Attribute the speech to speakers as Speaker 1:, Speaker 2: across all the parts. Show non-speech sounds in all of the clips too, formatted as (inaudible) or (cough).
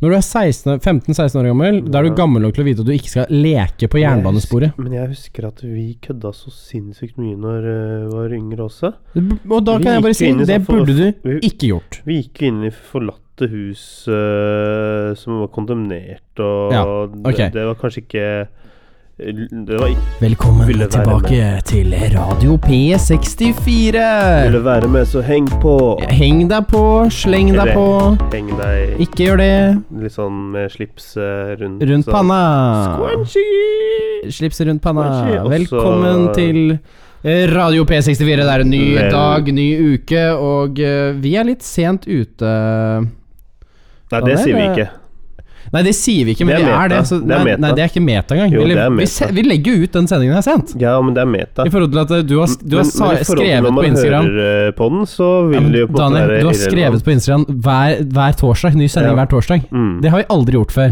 Speaker 1: Når du er 16 15-16 år gammel, da er du gammel nok til å vite at du ikke skal leke på jernbanesporet.
Speaker 2: Men jeg husker at vi kødda så sinnssykt mye når jeg var yngre også.
Speaker 1: Og da kan jeg bare si det
Speaker 2: sånn
Speaker 1: burde du ikke gjort.
Speaker 2: Vi gikk jo inn i forlatte hus eh, som var kondemnert, og
Speaker 1: Ja, ok.
Speaker 2: det, det var kanskje ikke Det var ikke
Speaker 1: Velkommen
Speaker 2: Ville være
Speaker 1: til Radio P64.
Speaker 2: Ville være med, så heng på!
Speaker 1: Heng deg på, sleng deg på.
Speaker 2: Heng deg
Speaker 1: Ikke gjør det
Speaker 2: litt sånn med slipset rundt
Speaker 1: rundt
Speaker 2: sånn.
Speaker 1: panna.
Speaker 2: Squanchy!
Speaker 1: Slipset rundt panna.
Speaker 2: Squanchy, også-
Speaker 1: Velkommen til eh, Radio P64. Det er en ny
Speaker 2: Vel-
Speaker 1: dag, ny uke, og eh, vi er litt sent ute.
Speaker 2: Nei,
Speaker 1: Ja,
Speaker 2: det
Speaker 1: det
Speaker 2: sier vi
Speaker 1: er-
Speaker 2: ikke.
Speaker 1: Nei, det sier vi ikke, men
Speaker 2: Det
Speaker 1: vi
Speaker 2: er
Speaker 1: er det.
Speaker 2: meta.
Speaker 1: Så,
Speaker 2: Det
Speaker 1: nei,
Speaker 2: er meta.
Speaker 1: nei, det er ikke meta engang.
Speaker 2: Jo,
Speaker 1: vi,
Speaker 2: det er
Speaker 1: vi,
Speaker 2: meta.
Speaker 1: se- vi legger jo ut den sendingen her sent.
Speaker 2: Ja, men det er meta.
Speaker 1: I forhold til at eh, du har, s- du har
Speaker 2: Men-
Speaker 1: sa-
Speaker 2: men i forhold til
Speaker 1: skrevet på
Speaker 2: Når
Speaker 1: Instagram
Speaker 2: man hører eh, på den, så
Speaker 1: Ja,
Speaker 2: vil
Speaker 1: men
Speaker 2: det jo på en måte
Speaker 1: Daniel,
Speaker 2: være
Speaker 1: du har
Speaker 2: irrelevant.
Speaker 1: skrevet på Instagram hver, hver torsdag. Ny sending
Speaker 2: Ja.
Speaker 1: hver torsdag.
Speaker 2: Mm.
Speaker 1: Det har vi aldri gjort før.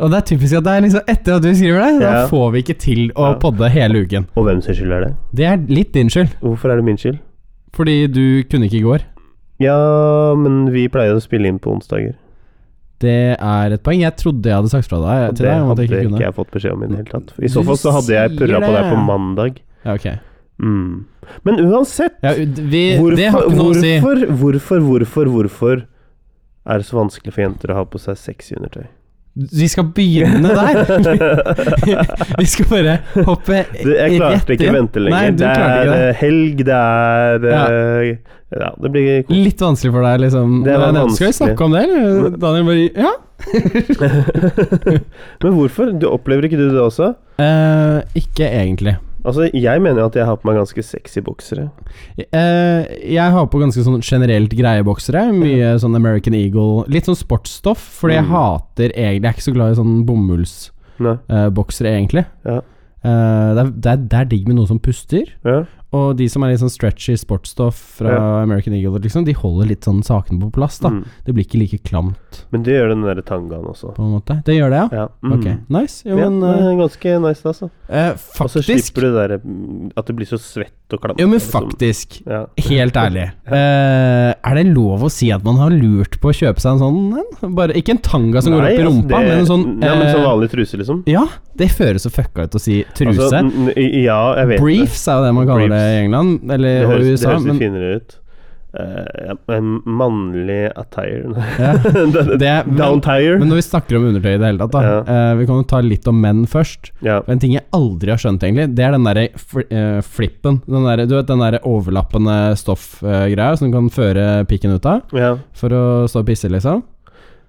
Speaker 1: Og det er typisk at det er liksom etter at du skriver det, da
Speaker 2: Ja.
Speaker 1: får vi ikke til å
Speaker 2: Ja.
Speaker 1: podde hele uken.
Speaker 2: Og hvem sin skyld er det?
Speaker 1: Det er litt din skyld,
Speaker 2: Hvorfor er det min skyld?
Speaker 1: fordi du kunne ikke i går.
Speaker 2: Ja, men vi pleier å spille inn på onsdager.
Speaker 1: Det er et poeng. Jeg trodde jeg hadde sagt fra deg
Speaker 2: Og
Speaker 1: til
Speaker 2: det
Speaker 1: deg om at jeg
Speaker 2: hadde
Speaker 1: ikke
Speaker 2: ikke,
Speaker 1: kunne.
Speaker 2: jeg fått beskjed om i det hele tatt. I så
Speaker 1: Du
Speaker 2: fall så hadde jeg
Speaker 1: sier
Speaker 2: purra på deg
Speaker 1: det.
Speaker 2: på mandag.
Speaker 1: Ja, ok.
Speaker 2: Mm. Men uansett,
Speaker 1: Ja, u- vi, det har
Speaker 2: hvorfor,
Speaker 1: ikke noe å si.
Speaker 2: hvorfor, hvorfor, hvorfor, hvorfor er det så vanskelig for jenter å ha på seg sexy
Speaker 1: (laughs)
Speaker 2: undertøy?
Speaker 1: Vi skal begynne
Speaker 2: (laughs)
Speaker 1: der. vi skal bare hoppe
Speaker 2: Det, jeg klarte ikke å
Speaker 1: inn.
Speaker 2: vente lenger.
Speaker 1: Nei, du
Speaker 2: det
Speaker 1: klarte
Speaker 2: er
Speaker 1: ikke det.
Speaker 2: eh, helg, det er eh, Ja, det blir kos.
Speaker 1: Litt vanskelig for deg, liksom.
Speaker 2: Det var
Speaker 1: Nei, nei, Skal vi
Speaker 2: vanskelig.
Speaker 1: snakke om det, eller? Daniel bare Ja.
Speaker 2: Men hvorfor? Du Opplever ikke du det også?
Speaker 1: Eh, ikke egentlig.
Speaker 2: Altså, Jeg mener jo at jeg har på meg ganske sexy boksere.
Speaker 1: Eh, jeg har på ganske sånn generelt greie boksere. Mye sånn American Eagle. Litt sånn sportsstoff, fordi jeg
Speaker 2: Mm.
Speaker 1: hater egentlig Jeg er ikke så glad i sånn bomullsboksere,
Speaker 2: Nei.
Speaker 1: egentlig.
Speaker 2: Ja.
Speaker 1: Eh, det, er, det, er, det er digg med noe som puster.
Speaker 2: Ja.
Speaker 1: Og de som er litt sånn stretchy sportsstoff fra American Eagle, liksom, de holder litt sånn sakene på plass. da
Speaker 2: Mm.
Speaker 1: Det blir ikke like klamt,
Speaker 2: Men det gjør den derre tangaen også.
Speaker 1: på en måte. Det gjør det, ja?
Speaker 2: Ja. Mm.
Speaker 1: Ok, nice. Jo,
Speaker 2: Ja,
Speaker 1: men
Speaker 2: det
Speaker 1: eh,
Speaker 2: er ganske nice, altså.
Speaker 1: eh,
Speaker 2: Og så
Speaker 1: Faktisk
Speaker 2: slipper du det der, mm, at det blir så svett og klamt.
Speaker 1: Jo, men
Speaker 2: liksom.
Speaker 1: faktisk.
Speaker 2: Ja.
Speaker 1: Helt ærlig. eh, er det lov å si at man har lurt på å kjøpe seg en sånn en? Bare, ikke en tanga som går
Speaker 2: Nei,
Speaker 1: opp i
Speaker 2: altså,
Speaker 1: rumpa,
Speaker 2: det-
Speaker 1: men en sånn
Speaker 2: Nei, men sånn
Speaker 1: eh,
Speaker 2: vanlig truse, liksom.
Speaker 1: Ja, det høres så fucka ut å si truse.
Speaker 2: Altså, n- n- ja, jeg vet det.
Speaker 1: Briefs er jo det man kaller det i England,
Speaker 2: Det
Speaker 1: eller og
Speaker 2: høres, det
Speaker 1: USA.
Speaker 2: høres litt
Speaker 1: Men
Speaker 2: finere ut. Eh, ja, en mannlig attire (laughs)
Speaker 1: Ja.
Speaker 2: Det-
Speaker 1: Det- men-
Speaker 2: Downtire.
Speaker 1: men når vi snakker om undertøy i det hele tatt, da eh, Vi kan jo ta litt om menn først.
Speaker 2: ja.
Speaker 1: En ting jeg aldri har skjønt, egentlig, det er den derre fl eh, flippen. Den derre- du vet, den derre overlappende stoffgreia som du kan føre pikken ut av
Speaker 2: Ja.
Speaker 1: for å stå og pisse, liksom.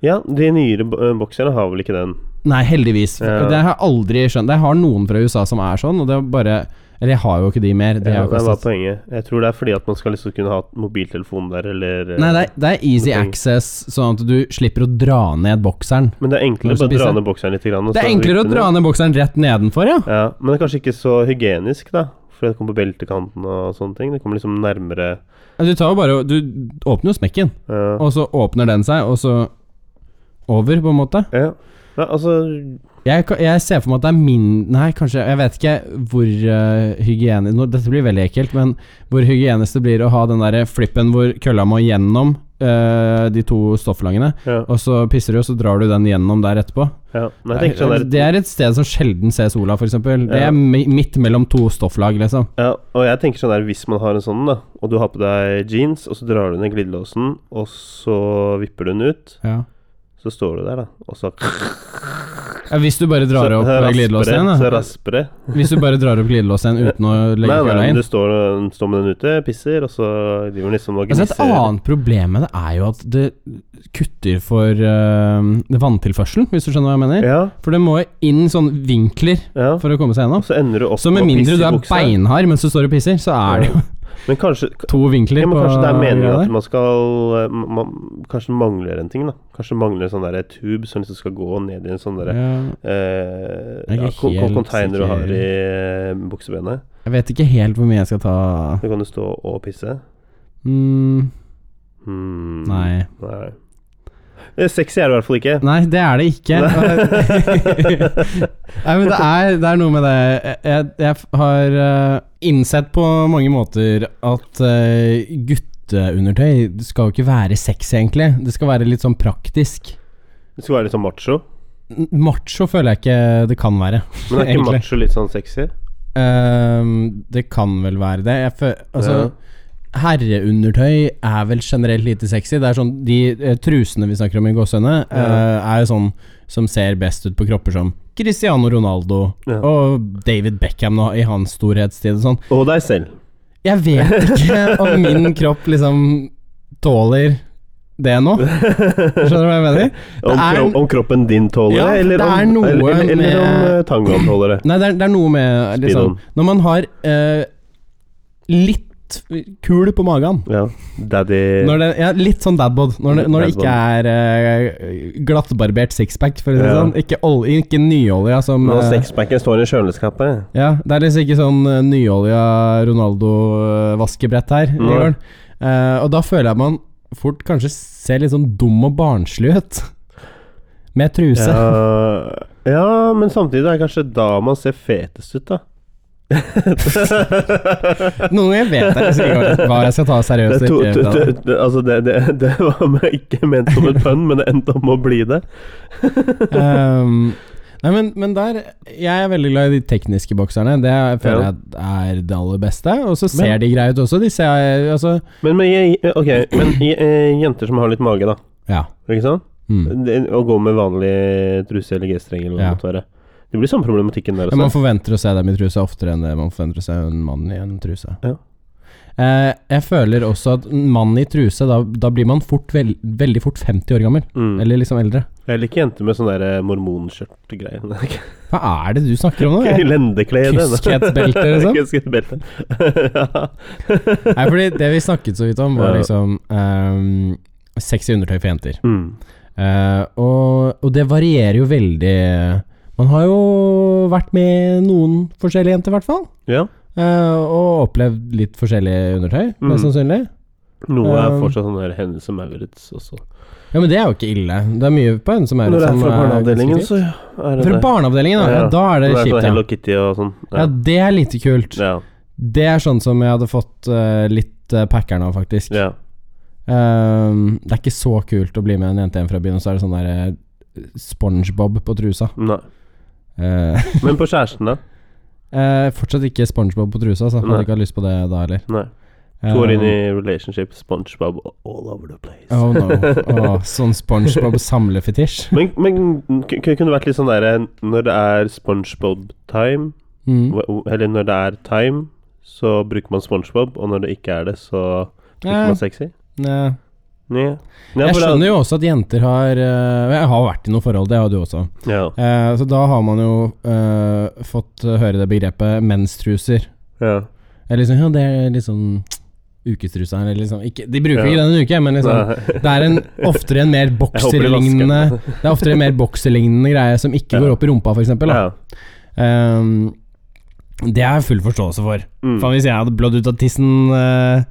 Speaker 2: ja, de nyere bo- eh, bokserne har vel ikke den.
Speaker 1: Nei, heldigvis.
Speaker 2: Ja.
Speaker 1: Det har jeg aldri skjønt. Jeg har noen fra USA som er sånn, og det er bare Eller jeg har jo ikke de mer. De
Speaker 2: Ja,
Speaker 1: har
Speaker 2: Eh, det
Speaker 1: jo
Speaker 2: var
Speaker 1: kastet.
Speaker 2: poenget. Jeg tror det er fordi at man skal liksom kunne ha mobiltelefon der, eller eh,
Speaker 1: Nei, det er, det er easy
Speaker 2: Det er poenget.
Speaker 1: access, sånn at du slipper å dra ned bokseren.
Speaker 2: Men det er
Speaker 1: Når
Speaker 2: enklere
Speaker 1: du
Speaker 2: å bare
Speaker 1: spiser.
Speaker 2: dra ned bokseren litt. Grann, og
Speaker 1: Det er
Speaker 2: så
Speaker 1: enklere å
Speaker 2: vippe den
Speaker 1: dra
Speaker 2: ned.
Speaker 1: ned bokseren rett nedenfor, ja.
Speaker 2: Ja, men det er kanskje ikke så hygienisk, da. Fordi det kommer på beltekanten og sånne ting. Det kommer liksom nærmere
Speaker 1: Altså,
Speaker 2: eh,
Speaker 1: Du tar jo bare og- Du åpner jo smekken,
Speaker 2: ja.
Speaker 1: og så åpner den seg, og så over, på en måte.
Speaker 2: ja. ja, altså
Speaker 1: Jeg, ka- jeg ser for meg at det er min Nei, kanskje Jeg vet ikke hvor uh, hygienisk nå, Dette blir veldig ekkelt, men hvor hygienisk det blir å ha den der flippen hvor kølla må gjennom eh, de to stofflangene.
Speaker 2: ja,
Speaker 1: Og så pisser du, og så drar du den gjennom der etterpå. Eh,
Speaker 2: ja. Nei, jeg tenker sånn der
Speaker 1: det er et sted som sjelden ser sola, f.eks. Det
Speaker 2: Ja.
Speaker 1: er mi- midt mellom to stofflag, liksom.
Speaker 2: ja, Og jeg tenker sånn der hvis man har en sånn, da, og du har på deg jeans, og så drar du ned glidelåsen, og så vipper du den ut,
Speaker 1: Ja.
Speaker 2: så står du der, da, og så
Speaker 1: hvis du bare drar
Speaker 2: så
Speaker 1: opp
Speaker 2: rasper det,
Speaker 1: glidelåsen
Speaker 2: Så
Speaker 1: igjen, da.
Speaker 2: rasper det.
Speaker 1: Hvis du bare drar opp glidelåsen igjen uten å legge
Speaker 2: Nei,
Speaker 1: kølla
Speaker 2: nei,
Speaker 1: inn.
Speaker 2: du står, står med den ute, pisser, og så driver den liksom og
Speaker 1: Altså, et
Speaker 2: gnisser.
Speaker 1: annet problem med det er jo at det kutter for eh, vanntilførselen, hvis du skjønner hva jeg mener.
Speaker 2: Ja,
Speaker 1: For det må jo inn sånne vinkler
Speaker 2: ja.
Speaker 1: for å komme seg gjennom.
Speaker 2: Og så ender du opp
Speaker 1: Så med
Speaker 2: å
Speaker 1: mindre
Speaker 2: pisse
Speaker 1: du
Speaker 2: i
Speaker 1: er
Speaker 2: buksa.
Speaker 1: beinhard mens du står og pisser, så er det jo
Speaker 2: Men kanskje,
Speaker 1: to vinkler.
Speaker 2: ja, men
Speaker 1: på
Speaker 2: kanskje det er meningen
Speaker 1: greia
Speaker 2: at
Speaker 1: der.
Speaker 2: man skal eh, man, Kanskje mangler en ting, da. Kanskje mangler en sånn der tube som liksom skal gå ned i en sånn derre
Speaker 1: ja,
Speaker 2: eh,
Speaker 1: Jeg er
Speaker 2: ja,
Speaker 1: ikke
Speaker 2: kon- kon-
Speaker 1: helt
Speaker 2: container du har
Speaker 1: sikker.
Speaker 2: i eh, buksebenet.
Speaker 1: Jeg vet ikke helt hvor mye jeg skal ta
Speaker 2: Så kan du stå og pisse.
Speaker 1: mm,
Speaker 2: Hmm.
Speaker 1: Nei.
Speaker 2: Nei. Eh, Sexy er det i hvert fall ikke.
Speaker 1: Nei, det er det ikke. Nei, men det er, det er noe med det Jeg, jeg har eh, innsett på mange måter at eh, gutteundertøy skal jo ikke være sexy, egentlig. Det skal være litt sånn praktisk.
Speaker 2: Det skal være litt sånn macho.
Speaker 1: N- Macho føler jeg ikke det kan være.
Speaker 2: Men er
Speaker 1: (laughs)
Speaker 2: ikke
Speaker 1: Egentlig.
Speaker 2: macho litt sånn sexy?
Speaker 1: Ehm, det kan vel være det. Jeg fø- altså, Herreundertøy er vel generelt lite sexy. Det er sånn, De eh, trusene vi snakker om i gåsehøyne, eh, er jo sånn som ser best ut på kropper som Cristiano Ronaldo
Speaker 2: Ja.
Speaker 1: og David Beckham nå, i hans storhetstid og sånn.
Speaker 2: Og deg selv.
Speaker 1: Jeg vet ikke om min kropp liksom tåler det nå. Skjønner du hva jeg mener?
Speaker 2: Om,
Speaker 1: er-
Speaker 2: kro om kroppen din tåler
Speaker 1: Ja,
Speaker 2: det, eller,
Speaker 1: det er
Speaker 2: om,
Speaker 1: noe
Speaker 2: eller, eller, eller om
Speaker 1: med-
Speaker 2: eh, tangoen tåler det.
Speaker 1: Nei, det er, det er noe med liksom,
Speaker 2: Speedoen.
Speaker 1: Når man har eh, litt kul på magen
Speaker 2: Ja. Daddy
Speaker 1: når det, ja, Litt sånn dadbod. Når det, når det ikke er eh, glattbarbert sixpack, for å si det
Speaker 2: Ja.
Speaker 1: sånn. Ikke, ol- ikke nyolja som
Speaker 2: Nå
Speaker 1: eh,
Speaker 2: sexpacken står i kjøleskapet.
Speaker 1: Ja, det er liksom ikke sånn eh, nyolja Ronaldo-vaskebrett her. i
Speaker 2: Nei.
Speaker 1: gården. Eh, og da føler jeg man fort kanskje ser litt sånn dum og barnslig ut. Med truse.
Speaker 2: Ja, ja, men samtidig er det kanskje da man ser fetest
Speaker 1: (laughs)
Speaker 2: ut, da.
Speaker 1: (laughs) Noen ganger vet jeg liksom ikke hva jeg skal ta
Speaker 2: Det,
Speaker 1: seriøst.
Speaker 2: er to,
Speaker 1: og ikke
Speaker 2: to,
Speaker 1: ta
Speaker 2: to,
Speaker 1: det.
Speaker 2: to, altså det, det, det var meg ikke ment som et pønn, men det endte opp med å bli det.
Speaker 1: Ehm, nei, men, men der Jeg er veldig glad i de tekniske bokserne. Det føler
Speaker 2: Ja.
Speaker 1: jeg er det aller beste. Og så ser
Speaker 2: Men-
Speaker 1: de greie ut også. De ser Altså
Speaker 2: Men, men, jeg, ok, men je- eh, jenter som har litt mage, da.
Speaker 1: Ja.
Speaker 2: Ikke sant?
Speaker 1: Mm.
Speaker 2: Det- Å gå med vanlig truse eller G-streng eller hva det
Speaker 1: Ja.
Speaker 2: måtte være. Det blir samme problematikken der altså.
Speaker 1: Men man
Speaker 2: også.
Speaker 1: forventer å se dem i truse oftere enn det man forventer å se en mann i en truse.
Speaker 2: Ja.
Speaker 1: Eh, jeg føler også at en mann i truse, da, da blir man fort vel, veldig fort 50 år gammel.
Speaker 2: Mm.
Speaker 1: Eller liksom eldre.
Speaker 2: Jeg liker jenter med sånn der mormonskjørt-greier. (laughs)
Speaker 1: Hva er det du snakker om nå? Jeg-
Speaker 2: Lendeklede. (laughs)
Speaker 1: Kyskhetsbelte, liksom?
Speaker 2: Kyskhetsbelte. (laughs) ja.
Speaker 1: Nei, fordi det vi snakket så vidt om, var
Speaker 2: Ja.
Speaker 1: liksom ehm, sexy undertøy for jenter.
Speaker 2: Mm.
Speaker 1: Eh, og, og det varierer jo veldig. Man har jo vært med noen forskjellige jenter, i hvert fall.
Speaker 2: ja.
Speaker 1: eh, og opplevd litt forskjellige undertøy,
Speaker 2: Mm.
Speaker 1: mest sannsynlig.
Speaker 2: Noe er
Speaker 1: Um,
Speaker 2: fortsatt sånn der Hennes og Maurits også.
Speaker 1: Ja, Men det er jo ikke ille. Det er mye på henne som er
Speaker 2: Når det er
Speaker 1: som
Speaker 2: fra
Speaker 1: er
Speaker 2: barneavdelingen,
Speaker 1: ganske
Speaker 2: så ja, er
Speaker 1: fint.
Speaker 2: det
Speaker 1: Fra
Speaker 2: det.
Speaker 1: barneavdelingen, da. Ja,
Speaker 2: Ja.
Speaker 1: da er det
Speaker 2: Når det er sånn
Speaker 1: kjipt, ja.
Speaker 2: Hello Kitty og sånn.
Speaker 1: ja. Det er lite kult.
Speaker 2: Ja.
Speaker 1: Det er sånn som jeg hadde fått eh, litt uh, packeren av, faktisk.
Speaker 2: ja.
Speaker 1: Ehm, det er ikke så kult å bli med en jente hjem fra byen, og så er det sånn der eh, SpongeBob på trusa.
Speaker 2: Nei.
Speaker 1: Eh,
Speaker 2: Men på kjæresten, da?
Speaker 1: eh, fortsatt ikke SpongeBob på trusa, så jeg hadde
Speaker 2: Nei.
Speaker 1: ikke hatt lyst på det da heller.
Speaker 2: Nei. Går inn i
Speaker 1: Ehm,
Speaker 2: relationship, SpongeBob all over the place.
Speaker 1: Oh
Speaker 2: (laughs)
Speaker 1: no. Åh, sånn SpongeBob samlefetisj.
Speaker 2: Men, men k- k- kunne det vært litt sånn der Når det er SpongeBob-time,
Speaker 1: Mm.
Speaker 2: hva- eller når det er time, så bruker man SpongeBob, og når det ikke er det, så bruker
Speaker 1: Ja,
Speaker 2: man sexy?
Speaker 1: Eh, ja.
Speaker 2: Nei.
Speaker 1: Jeg skjønner jo også at jenter har eh, Jeg har vært i noen forhold, det har du også.
Speaker 2: Ja.
Speaker 1: Eh, så da har man jo eh, fått høre det begrepet menstruser.
Speaker 2: ja.
Speaker 1: Eller liksom, ja, det er liksom ukestrusa eller liksom ikke, De bruker
Speaker 2: Ja.
Speaker 1: ikke den en uke, men liksom
Speaker 2: Nei.
Speaker 1: Det er en, oftere en mer
Speaker 2: (laughs) Jeg håper de
Speaker 1: bokserlignende
Speaker 2: vasker
Speaker 1: Det er oftere en mer bokserlignende greie som ikke
Speaker 2: Ja.
Speaker 1: går opp i rumpa, f.eks.
Speaker 2: den.
Speaker 1: Ja.
Speaker 2: Ja.
Speaker 1: Um, det har jeg full forståelse for.
Speaker 2: Mm.
Speaker 1: Faen, hvis jeg hadde blødd ut av tissen eh,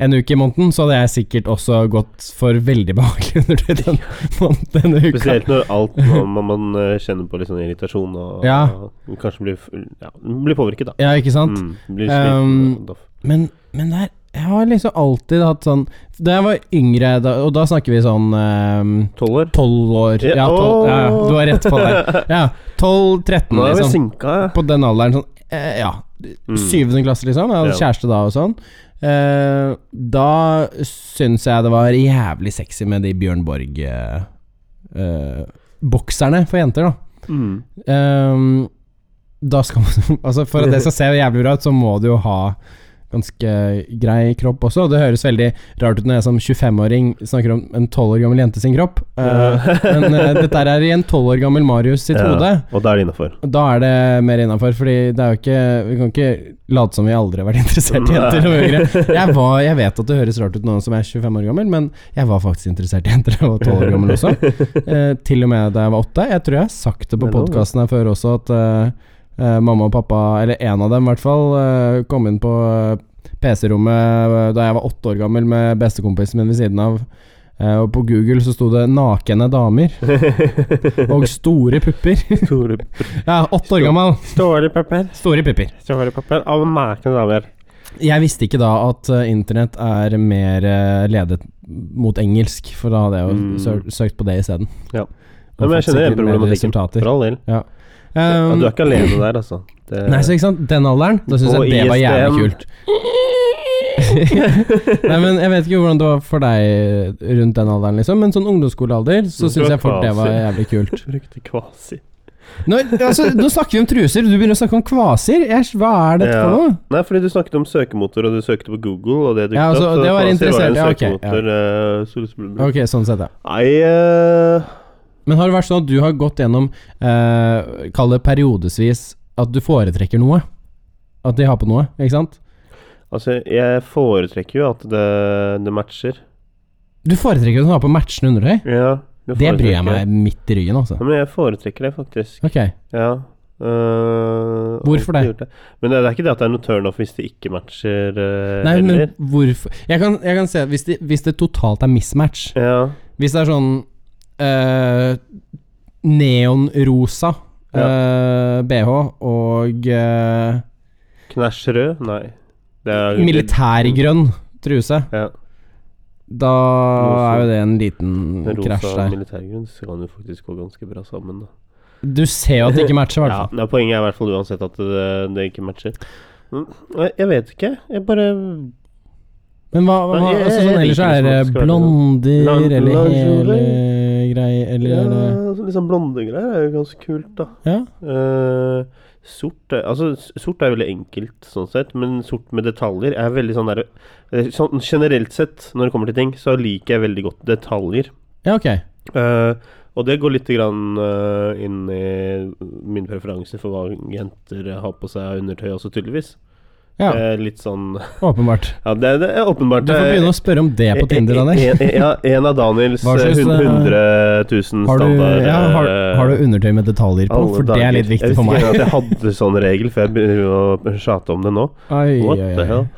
Speaker 1: en uke i måneden, så hadde jeg sikkert også gått for veldig behagelig (laughs) undertøy den måneden denne uka.
Speaker 2: Spesielt når alt man, man, man eh, kjenner på litt sånn irritasjon og,
Speaker 1: Ja.
Speaker 2: og kanskje blir, f- ja, blir påvirket, da.
Speaker 1: Ja, ikke sant?
Speaker 2: Mm, blir eh, sliten.
Speaker 1: Um,
Speaker 2: og-
Speaker 1: Men, men der, jeg har liksom alltid hatt sånn Da jeg var yngre, da, og da snakker vi sånn
Speaker 2: Tolv år?
Speaker 1: tolv år
Speaker 2: Ja,
Speaker 1: ja, 12,
Speaker 2: åh.
Speaker 1: ja, du har rett på det. Ja, 12-13,
Speaker 2: (laughs) Nå er vi
Speaker 1: liksom.
Speaker 2: synka, ja.
Speaker 1: På den alderen. Sånn, eh, ja,
Speaker 2: Mm.
Speaker 1: syvende klasse, liksom. Jeg hadde
Speaker 2: Ja.
Speaker 1: kjæreste da og sånn. Eh, da syns jeg det var jævlig sexy med de Bjørn Borg-bokserne for jenter, da.
Speaker 2: Mm.
Speaker 1: Ehm, da skal man (laughs) Altså For at det skal se jævlig bra ut, så må du jo ha ganske grei kropp også. Og det høres veldig rart ut når jeg som 25-åring snakker om en 12 år gammel jente sin kropp.
Speaker 2: (laughs)
Speaker 1: Eh, men eh, dette er i en 12 år gammel Marius sitt
Speaker 2: Ja,
Speaker 1: hode.
Speaker 2: Og da er det innafor.
Speaker 1: Da er det mer innafor, Fordi det er jo ikke vi kan ikke late som vi aldri har vært interessert i jenter. og
Speaker 2: (laughs)
Speaker 1: yngre. Jeg, var, jeg vet at det høres rart ut nå som jeg er 25 år gammel, men jeg var faktisk interessert i jenter da jeg var 12 år gammel
Speaker 2: (laughs)
Speaker 1: også. Eh, til og med da jeg var åtte. Jeg tror jeg har sagt det på
Speaker 2: Det er lov, det.
Speaker 1: podkasten her før også, at eh, eh, mamma og pappa, eller en av dem i hvert fall, eh, kom inn på eh, PC-rommet eh, da jeg var åtte år gammel med bestekompisen min ved siden av. Eh, og på Google så sto det 'nakne
Speaker 2: (laughs)
Speaker 1: damer' og 'store pupper'.
Speaker 2: Store
Speaker 1: ja, åtte år gammel.
Speaker 2: Store pepper.
Speaker 1: Store pupper.
Speaker 2: Store pepper. Av nakne damer.
Speaker 1: Jeg visste ikke da at eh, internett er mer eh, ledet mot engelsk, for da hadde jeg jo
Speaker 2: Mm.
Speaker 1: sø- søkt på det isteden.
Speaker 2: Ja. Ja, men jeg skjønner den problematikken. For
Speaker 1: Resultater.
Speaker 2: all del. Ja,
Speaker 1: Um,
Speaker 2: du er ikke alene der, altså. Det,
Speaker 1: Nei, så ikke sant, den alderen, da syns
Speaker 2: På E
Speaker 1: jeg det var jævlig kult. (laughs) Nei, men jeg vet ikke hvordan det var for deg rundt den alderen, liksom, men sånn ungdomsskolealder, så
Speaker 2: Det
Speaker 1: syns
Speaker 2: var
Speaker 1: jeg fort det var
Speaker 2: kvasi.
Speaker 1: jævlig kult.
Speaker 2: brukte kvasi.
Speaker 1: Nå, altså, nå snakker vi om truser, du begynner å snakke om kvaser. Æsj, hva er dette
Speaker 2: Ja.
Speaker 1: for noe?
Speaker 2: Nei, fordi du snakket om søkemotor, og du søkte på Google, og det dukket
Speaker 1: Ja, altså,
Speaker 2: opp. så
Speaker 1: det var
Speaker 2: kvasi
Speaker 1: interessert,
Speaker 2: en
Speaker 1: ja, ok,
Speaker 2: søkemotor, eh, så det skulle bli-
Speaker 1: Ok, sånn sett, ja.
Speaker 2: Nei eh,
Speaker 1: Men har det vært sånn at du har gått gjennom, eh, kall det periodesvis, at du foretrekker noe? At de har på noe, ikke sant?
Speaker 2: Altså, jeg foretrekker jo at det, det matcher.
Speaker 1: Du foretrekker at hun har på matchende undertøy?
Speaker 2: Ja,
Speaker 1: Det bryr jeg meg midt i ryggen, altså.
Speaker 2: Ja, men jeg foretrekker det, faktisk.
Speaker 1: Ok,
Speaker 2: Ja. eh,
Speaker 1: Hvorfor
Speaker 2: alltid
Speaker 1: det?
Speaker 2: gjort Men det, det er ikke det at det er noe turnoff hvis det ikke matcher eh,
Speaker 1: Nei,
Speaker 2: heller.
Speaker 1: men hvorfor Jeg kan, jeg kan se hvis det, hvis det totalt er mismatch
Speaker 2: Ja.
Speaker 1: Hvis det er sånn eh, neonrosa eh, BH og eh,
Speaker 2: Knæsj rød? Nei. Det er
Speaker 1: militærgrønn truse,
Speaker 2: Ja.
Speaker 1: da er jo det en liten krasj
Speaker 2: Rosa
Speaker 1: der.
Speaker 2: militærgrunn så kan jo faktisk gå ganske bra sammen, da.
Speaker 1: Du ser jo at det ikke matcher, i
Speaker 2: (laughs)
Speaker 1: hvert
Speaker 2: Ja,
Speaker 1: fall.
Speaker 2: nei, poenget er i hvert fall uansett at det, det ikke matcher. Mm, Jeg jeg vet ikke. Jeg bare
Speaker 1: Men hva, hva, hva
Speaker 2: Ja, jeg-
Speaker 1: altså,
Speaker 2: jeg
Speaker 1: sånn
Speaker 2: liker
Speaker 1: ellers er
Speaker 2: det som
Speaker 1: det
Speaker 2: at det skal være
Speaker 1: blonder
Speaker 2: sånn. Lang-
Speaker 1: eller
Speaker 2: lingerie.
Speaker 1: hele greier, eller
Speaker 2: ja,
Speaker 1: er det
Speaker 2: så Litt sånn blondegreier er jo ganske kult, da.
Speaker 1: Ja.
Speaker 2: Eh, sort er, altså, s- sort er veldig enkelt, sånn sett, men sort med detaljer er veldig sånn der eh, sånn, Generelt sett, når det kommer til ting, så liker jeg veldig godt detaljer.
Speaker 1: ja, ok.
Speaker 2: Eh, og det går litt grann, eh, inn i min preferanse for hva jenter har på seg av undertøy også, tydeligvis.
Speaker 1: Ja,
Speaker 2: Eh, litt sånn
Speaker 1: åpenbart.
Speaker 2: Ja, det, det er åpenbart eh,
Speaker 1: Du får begynne å spørre om det
Speaker 2: E-
Speaker 1: på Tinder, Daniel.
Speaker 2: En, en, ja, en av Daniels
Speaker 1: Hva slags,
Speaker 2: eh, hun-
Speaker 1: eh,
Speaker 2: 100 000
Speaker 1: Har du,
Speaker 2: standard eh,
Speaker 1: ja, har, har du undertøy med detaljer på? For det er litt viktig for meg.
Speaker 2: Jeg visste ikke engang at jeg hadde sånn regel før jeg begynner å sjate om det nå.
Speaker 1: Oi,
Speaker 2: What
Speaker 1: oi,
Speaker 2: the
Speaker 1: oi.
Speaker 2: hell?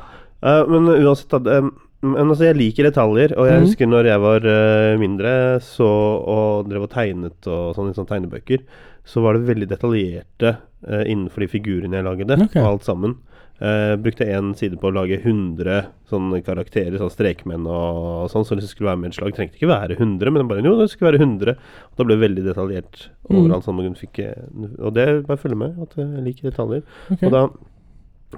Speaker 2: Eh, men uansett at, eh, men altså, Jeg liker detaljer, og jeg
Speaker 1: Mhm.
Speaker 2: husker når jeg var eh, mindre så, og drev og tegnet og sånn i sånne tegnebøker, så var det veldig detaljerte eh, innenfor de figurene jeg lagde,
Speaker 1: Ok.
Speaker 2: og alt sammen. Eh, brukte én side på å lage 100 sånne karakterer, sånn strekmenn og sånn, så det skulle være med et slag. Trengte ikke være 100, men bare jo, det skulle være 100. Og da ble det veldig detaljert
Speaker 1: Mm.
Speaker 2: overalt. Sånn, og, hun fikk, eh, og det bare følger med, at jeg liker detaljer.
Speaker 1: Ok.
Speaker 2: Og da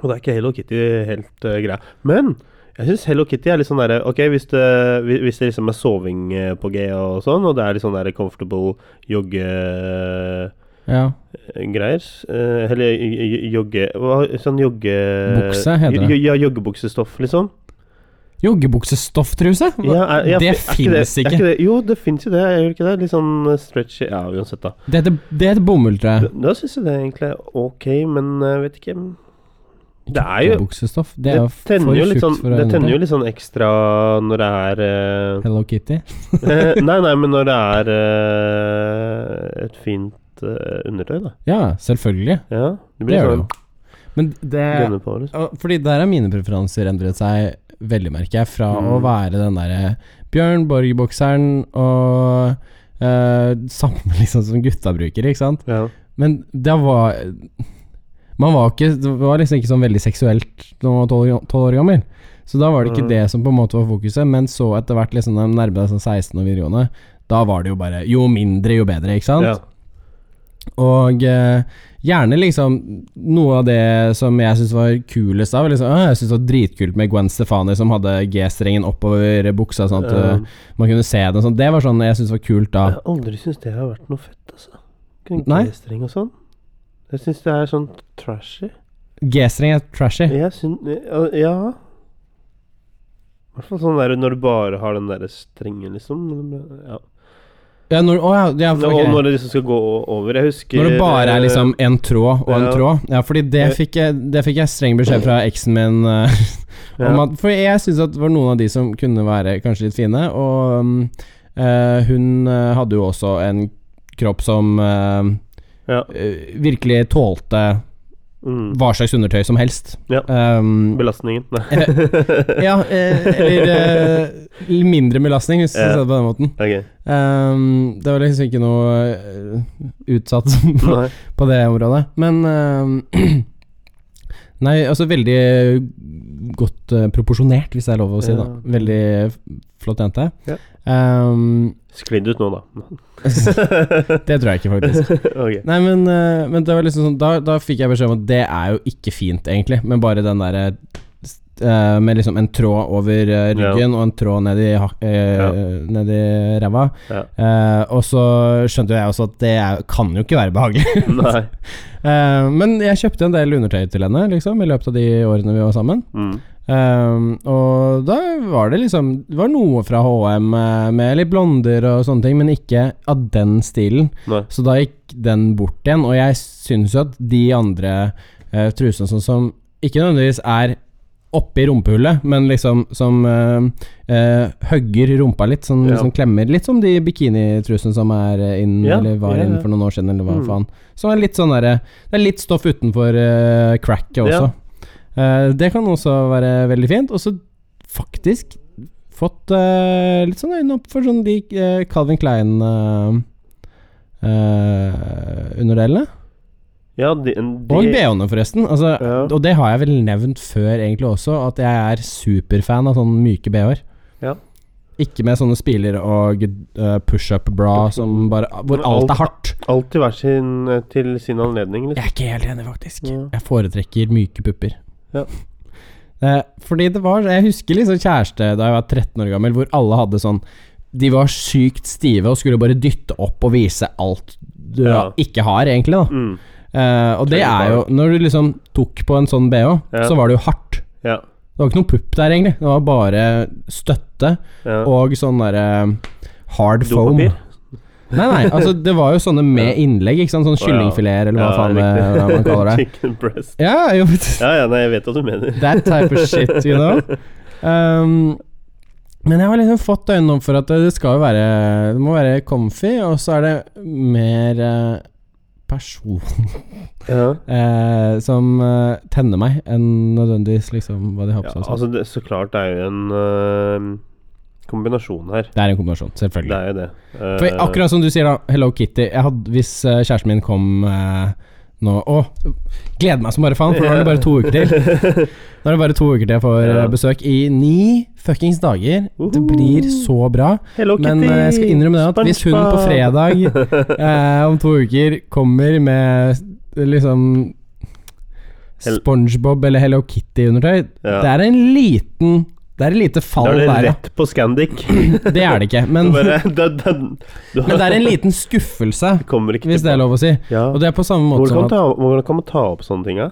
Speaker 2: og det er ikke Hello Kitty helt eh, greia. Men jeg syns Hello Kitty er litt sånn derre Ok, hvis det, hvi- hvis det liksom er soving eh, på G og sånn, og det er litt sånn derre comfortable joggegreier
Speaker 1: Ja.
Speaker 2: eh, Eller j- j- jogge... Hva, sånn jogge...
Speaker 1: Bukse heter det.
Speaker 2: jo- Ja, joggebuksestoff, liksom.
Speaker 1: Joggebuksestofftruse? Hva-
Speaker 2: Ja, er- ja,
Speaker 1: det
Speaker 2: er
Speaker 1: finnes
Speaker 2: er
Speaker 1: ikke.
Speaker 2: det, jo, det fins jo det. Gjør det ikke det? Litt sånn eh, stretchy Ja, uansett, da.
Speaker 1: Det heter, det heter bomulltrøye.
Speaker 2: Da syns jeg det egentlig er ok, men jeg vet ikke Det er jo
Speaker 1: Joggebuksestoff. Det
Speaker 2: Det,
Speaker 1: er jo for
Speaker 2: tenner jo litt
Speaker 1: tjukt
Speaker 2: sånn,
Speaker 1: for å
Speaker 2: det
Speaker 1: hende
Speaker 2: tenner jo
Speaker 1: til.
Speaker 2: litt sånn ekstra når det er eh,
Speaker 1: Hello Kitty.
Speaker 2: eh, (laughs) Nei, nei, men når det er eh, et fint eh, undertøy, da.
Speaker 1: Ja, selvfølgelig.
Speaker 2: Ja,
Speaker 1: Det
Speaker 2: det
Speaker 1: gjør
Speaker 2: blir
Speaker 1: det
Speaker 2: sånn
Speaker 1: jo. Men det
Speaker 2: gønne på, liksom.
Speaker 1: og- Fordi der har mine preferanser endret seg veldig, merker jeg. Fra
Speaker 2: Mm.
Speaker 1: å være den derre Bjørn Borg-bokseren og eh, samme (laughs) liksom som gutta bruker, ikke sant?
Speaker 2: Ja.
Speaker 1: Men det var Man var ikke Det var liksom ikke sånn veldig seksuelt da man var tolv år- tolv år gammel. Så da var det ikke
Speaker 2: Mm.
Speaker 1: det som på en måte var fokuset, men så etter hvert liksom når de nærmet seg sånn 16 og videregående, da var det jo bare Jo mindre, jo bedre, ikke sant?
Speaker 2: Ja.
Speaker 1: Og eh, gjerne liksom noe av det som jeg syntes var kulest da, var liksom «Åh, Jeg syntes det var dritkult med Gwen Stefani som hadde G-strengen oppover buksa, sånn at
Speaker 2: Eh,
Speaker 1: eh, man kunne se den sånn. Det var sånn jeg syntes var kult da.
Speaker 2: Jeg har aldri syntes det har vært noe fett, altså.
Speaker 1: Nei.
Speaker 2: G-streng og sånn. Jeg syns det er sånn trashy.
Speaker 1: G-streng er trashy.
Speaker 2: Jeg syns Ja. I hvert fall sånn der når du bare har den derre strengen, liksom. Ja.
Speaker 1: Ja, når, å, ja, ja, ok.
Speaker 2: Og når det liksom skal gå over. Jeg husker
Speaker 1: Når det bare er
Speaker 2: eh,
Speaker 1: liksom en tråd og en
Speaker 2: ja.
Speaker 1: tråd. Ja, fordi det
Speaker 2: Eh.
Speaker 1: fikk jeg, det fikk jeg streng beskjed fra eksen min eh,
Speaker 2: ja.
Speaker 1: om at For jeg syns at det var noen av de som kunne være kanskje litt fine, og mm, eh, hun eh, hadde jo også en kropp som eh,
Speaker 2: Ja.
Speaker 1: eh, virkelig tålte
Speaker 2: mm.
Speaker 1: hva slags undertøy som helst.
Speaker 2: Ja.
Speaker 1: Um,
Speaker 2: (laughs) Belastningen. Nei.
Speaker 1: ja, eh, eller eh, mindre belastning, hvis du
Speaker 2: Ja.
Speaker 1: ser det på den måten. (laughs)
Speaker 2: Ok.
Speaker 1: Um, det var liksom ikke noe eh, utsatt (laughs) på
Speaker 2: Nei.
Speaker 1: på det området. Men eh, (clears throat) Nei, altså veldig godt eh, proporsjonert, hvis det er lov å si, da.
Speaker 2: Ja.
Speaker 1: Veldig f- flott jente.
Speaker 2: Ja.
Speaker 1: Ehm,
Speaker 2: Sklidd ut nå,
Speaker 1: (laughs)
Speaker 2: da.
Speaker 1: det tror jeg ikke, faktisk.
Speaker 2: ok.
Speaker 1: Nei, men, eh, men det var liksom sånn da, da fikk jeg beskjed om at det er jo ikke fint, egentlig, men bare den derre eh, med liksom en tråd over eh, ryggen og en tråd ned i, hak- eh,
Speaker 2: Ja.
Speaker 1: ned i ræva.
Speaker 2: Ja.
Speaker 1: Eh, og så skjønte jo jeg også at det er, kan jo ikke være behagelig. (laughs)
Speaker 2: Nei.
Speaker 1: Eh, men jeg kjøpte en del undertøy til henne liksom, i løpet av de årene vi var sammen.
Speaker 2: Mm.
Speaker 1: Ehm, og da var det liksom Det var noe fra HM eh, med litt blonder og sånne ting, men ikke av den stilen.
Speaker 2: Nei.
Speaker 1: Så da gikk den bort igjen, og jeg syns jo at de andre eh, trusene sånn som ikke nødvendigvis er oppi rumpehullet, men liksom som eh, eh, hugger rumpa litt, sånn
Speaker 2: Ja.
Speaker 1: liksom klemmer. Litt som de bikinitrusene som er eh, inn,
Speaker 2: Ja,
Speaker 1: eller var
Speaker 2: ja, ja.
Speaker 1: inn for noen år siden, eller hva
Speaker 2: Mm.
Speaker 1: faen. Som er litt sånn derre Det er litt stoff utenfor eh, cracket også.
Speaker 2: Ja.
Speaker 1: Eh, det kan også være veldig fint. Og så faktisk fått eh, litt sånn øynene opp for sånn de eh, Calvin Klein eh, eh, underdelene.
Speaker 2: Ja, de, en- de,
Speaker 1: Og BH-ene, forresten. Altså,
Speaker 2: Ja.
Speaker 1: Og det har jeg vel nevnt før egentlig også, at jeg er superfan av sånne myke BH-er.
Speaker 2: Ja.
Speaker 1: Ikke med sånne spiler og eh, push-up-bra som bare Hvor
Speaker 2: Men
Speaker 1: alt
Speaker 2: alt-
Speaker 1: er hardt.
Speaker 2: Alltid hver sin til sin anledning, liksom.
Speaker 1: Jeg er ikke helt enig, faktisk.
Speaker 2: Ja.
Speaker 1: Jeg foretrekker myke pupper.
Speaker 2: Ja.
Speaker 1: (laughs) Eh, fordi det var Jeg husker liksom kjæreste da jeg var 13 år gammel, hvor alle hadde sånn De var sykt stive og skulle bare dytte opp og vise alt du
Speaker 2: Ja.
Speaker 1: ikke har, egentlig. da
Speaker 2: Mm.
Speaker 1: Eh, Og det er jo Når du liksom tok på en sånn BH,
Speaker 2: Ja.
Speaker 1: så var det jo hardt.
Speaker 2: Ja.
Speaker 1: Det var ikke noe pupp der, egentlig. Det var bare støtte
Speaker 2: ja.
Speaker 1: og sånn derre hard foam.
Speaker 2: Dopapir?
Speaker 1: Nei, nei, altså det var jo sånne med innlegg, ikke sant. Sånn
Speaker 2: (laughs) ja.
Speaker 1: kyllingfileter, eller hva
Speaker 2: Ja,
Speaker 1: faen
Speaker 2: riktig.
Speaker 1: eh, man kaller det.
Speaker 2: (laughs) Chicken breast.
Speaker 1: Ja,
Speaker 2: (laughs)
Speaker 1: jo, men
Speaker 2: Ja, ja, nei, jeg vet hva du mener.
Speaker 1: that type of shit, you know. Um, men jeg har liksom fått øynene opp for at det skal jo være Det må være comfy, og så er det mer eh, person
Speaker 2: Ja.
Speaker 1: eh, som eh, tenner meg, enn nødvendigvis liksom hva de har på seg. og
Speaker 2: Ja,
Speaker 1: sånt.
Speaker 2: altså det, så klart det er jo en øh, kombinasjon her.
Speaker 1: det er en kombinasjon,
Speaker 2: Det
Speaker 1: selvfølgelig.
Speaker 2: er jo det. Eh,
Speaker 1: For akkurat som du sier, da, Hello Kitty jeg hadde, Hvis eh, kjæresten min kom eh, nå Å, gleder meg som bare faen, for nå er det bare to uker til.
Speaker 2: (laughs)
Speaker 1: Nå er det bare to uker til jeg får
Speaker 2: Ja.
Speaker 1: eh, besøk i ni fuckings dager. Det
Speaker 2: Uhu.
Speaker 1: blir så bra.
Speaker 2: Hello Kitty!
Speaker 1: Men eh, jeg skal innrømme det at hvis hun på
Speaker 2: SpongeBob!
Speaker 1: fredag eh, om to uker kommer med liksom
Speaker 2: Hel-
Speaker 1: SpongeBob eller Hello Kitty-undertøy,
Speaker 2: Ja.
Speaker 1: det er en liten Det er et lite
Speaker 2: Da
Speaker 1: fall
Speaker 2: er det
Speaker 1: der, ja.
Speaker 2: rett på Scandic.
Speaker 1: (clears throat) (laughs) Det er det ikke. Men,
Speaker 2: Du
Speaker 1: men
Speaker 2: (laughs) bare- da- da- du har-
Speaker 1: det er en liten skuffelse,
Speaker 2: Kommer ikke
Speaker 1: hvis det er lov å si.
Speaker 2: Ja.
Speaker 1: Og det er på samme måte som at
Speaker 2: Hvordan kan, man ta, hvordan kan man ta opp sånne ting? da?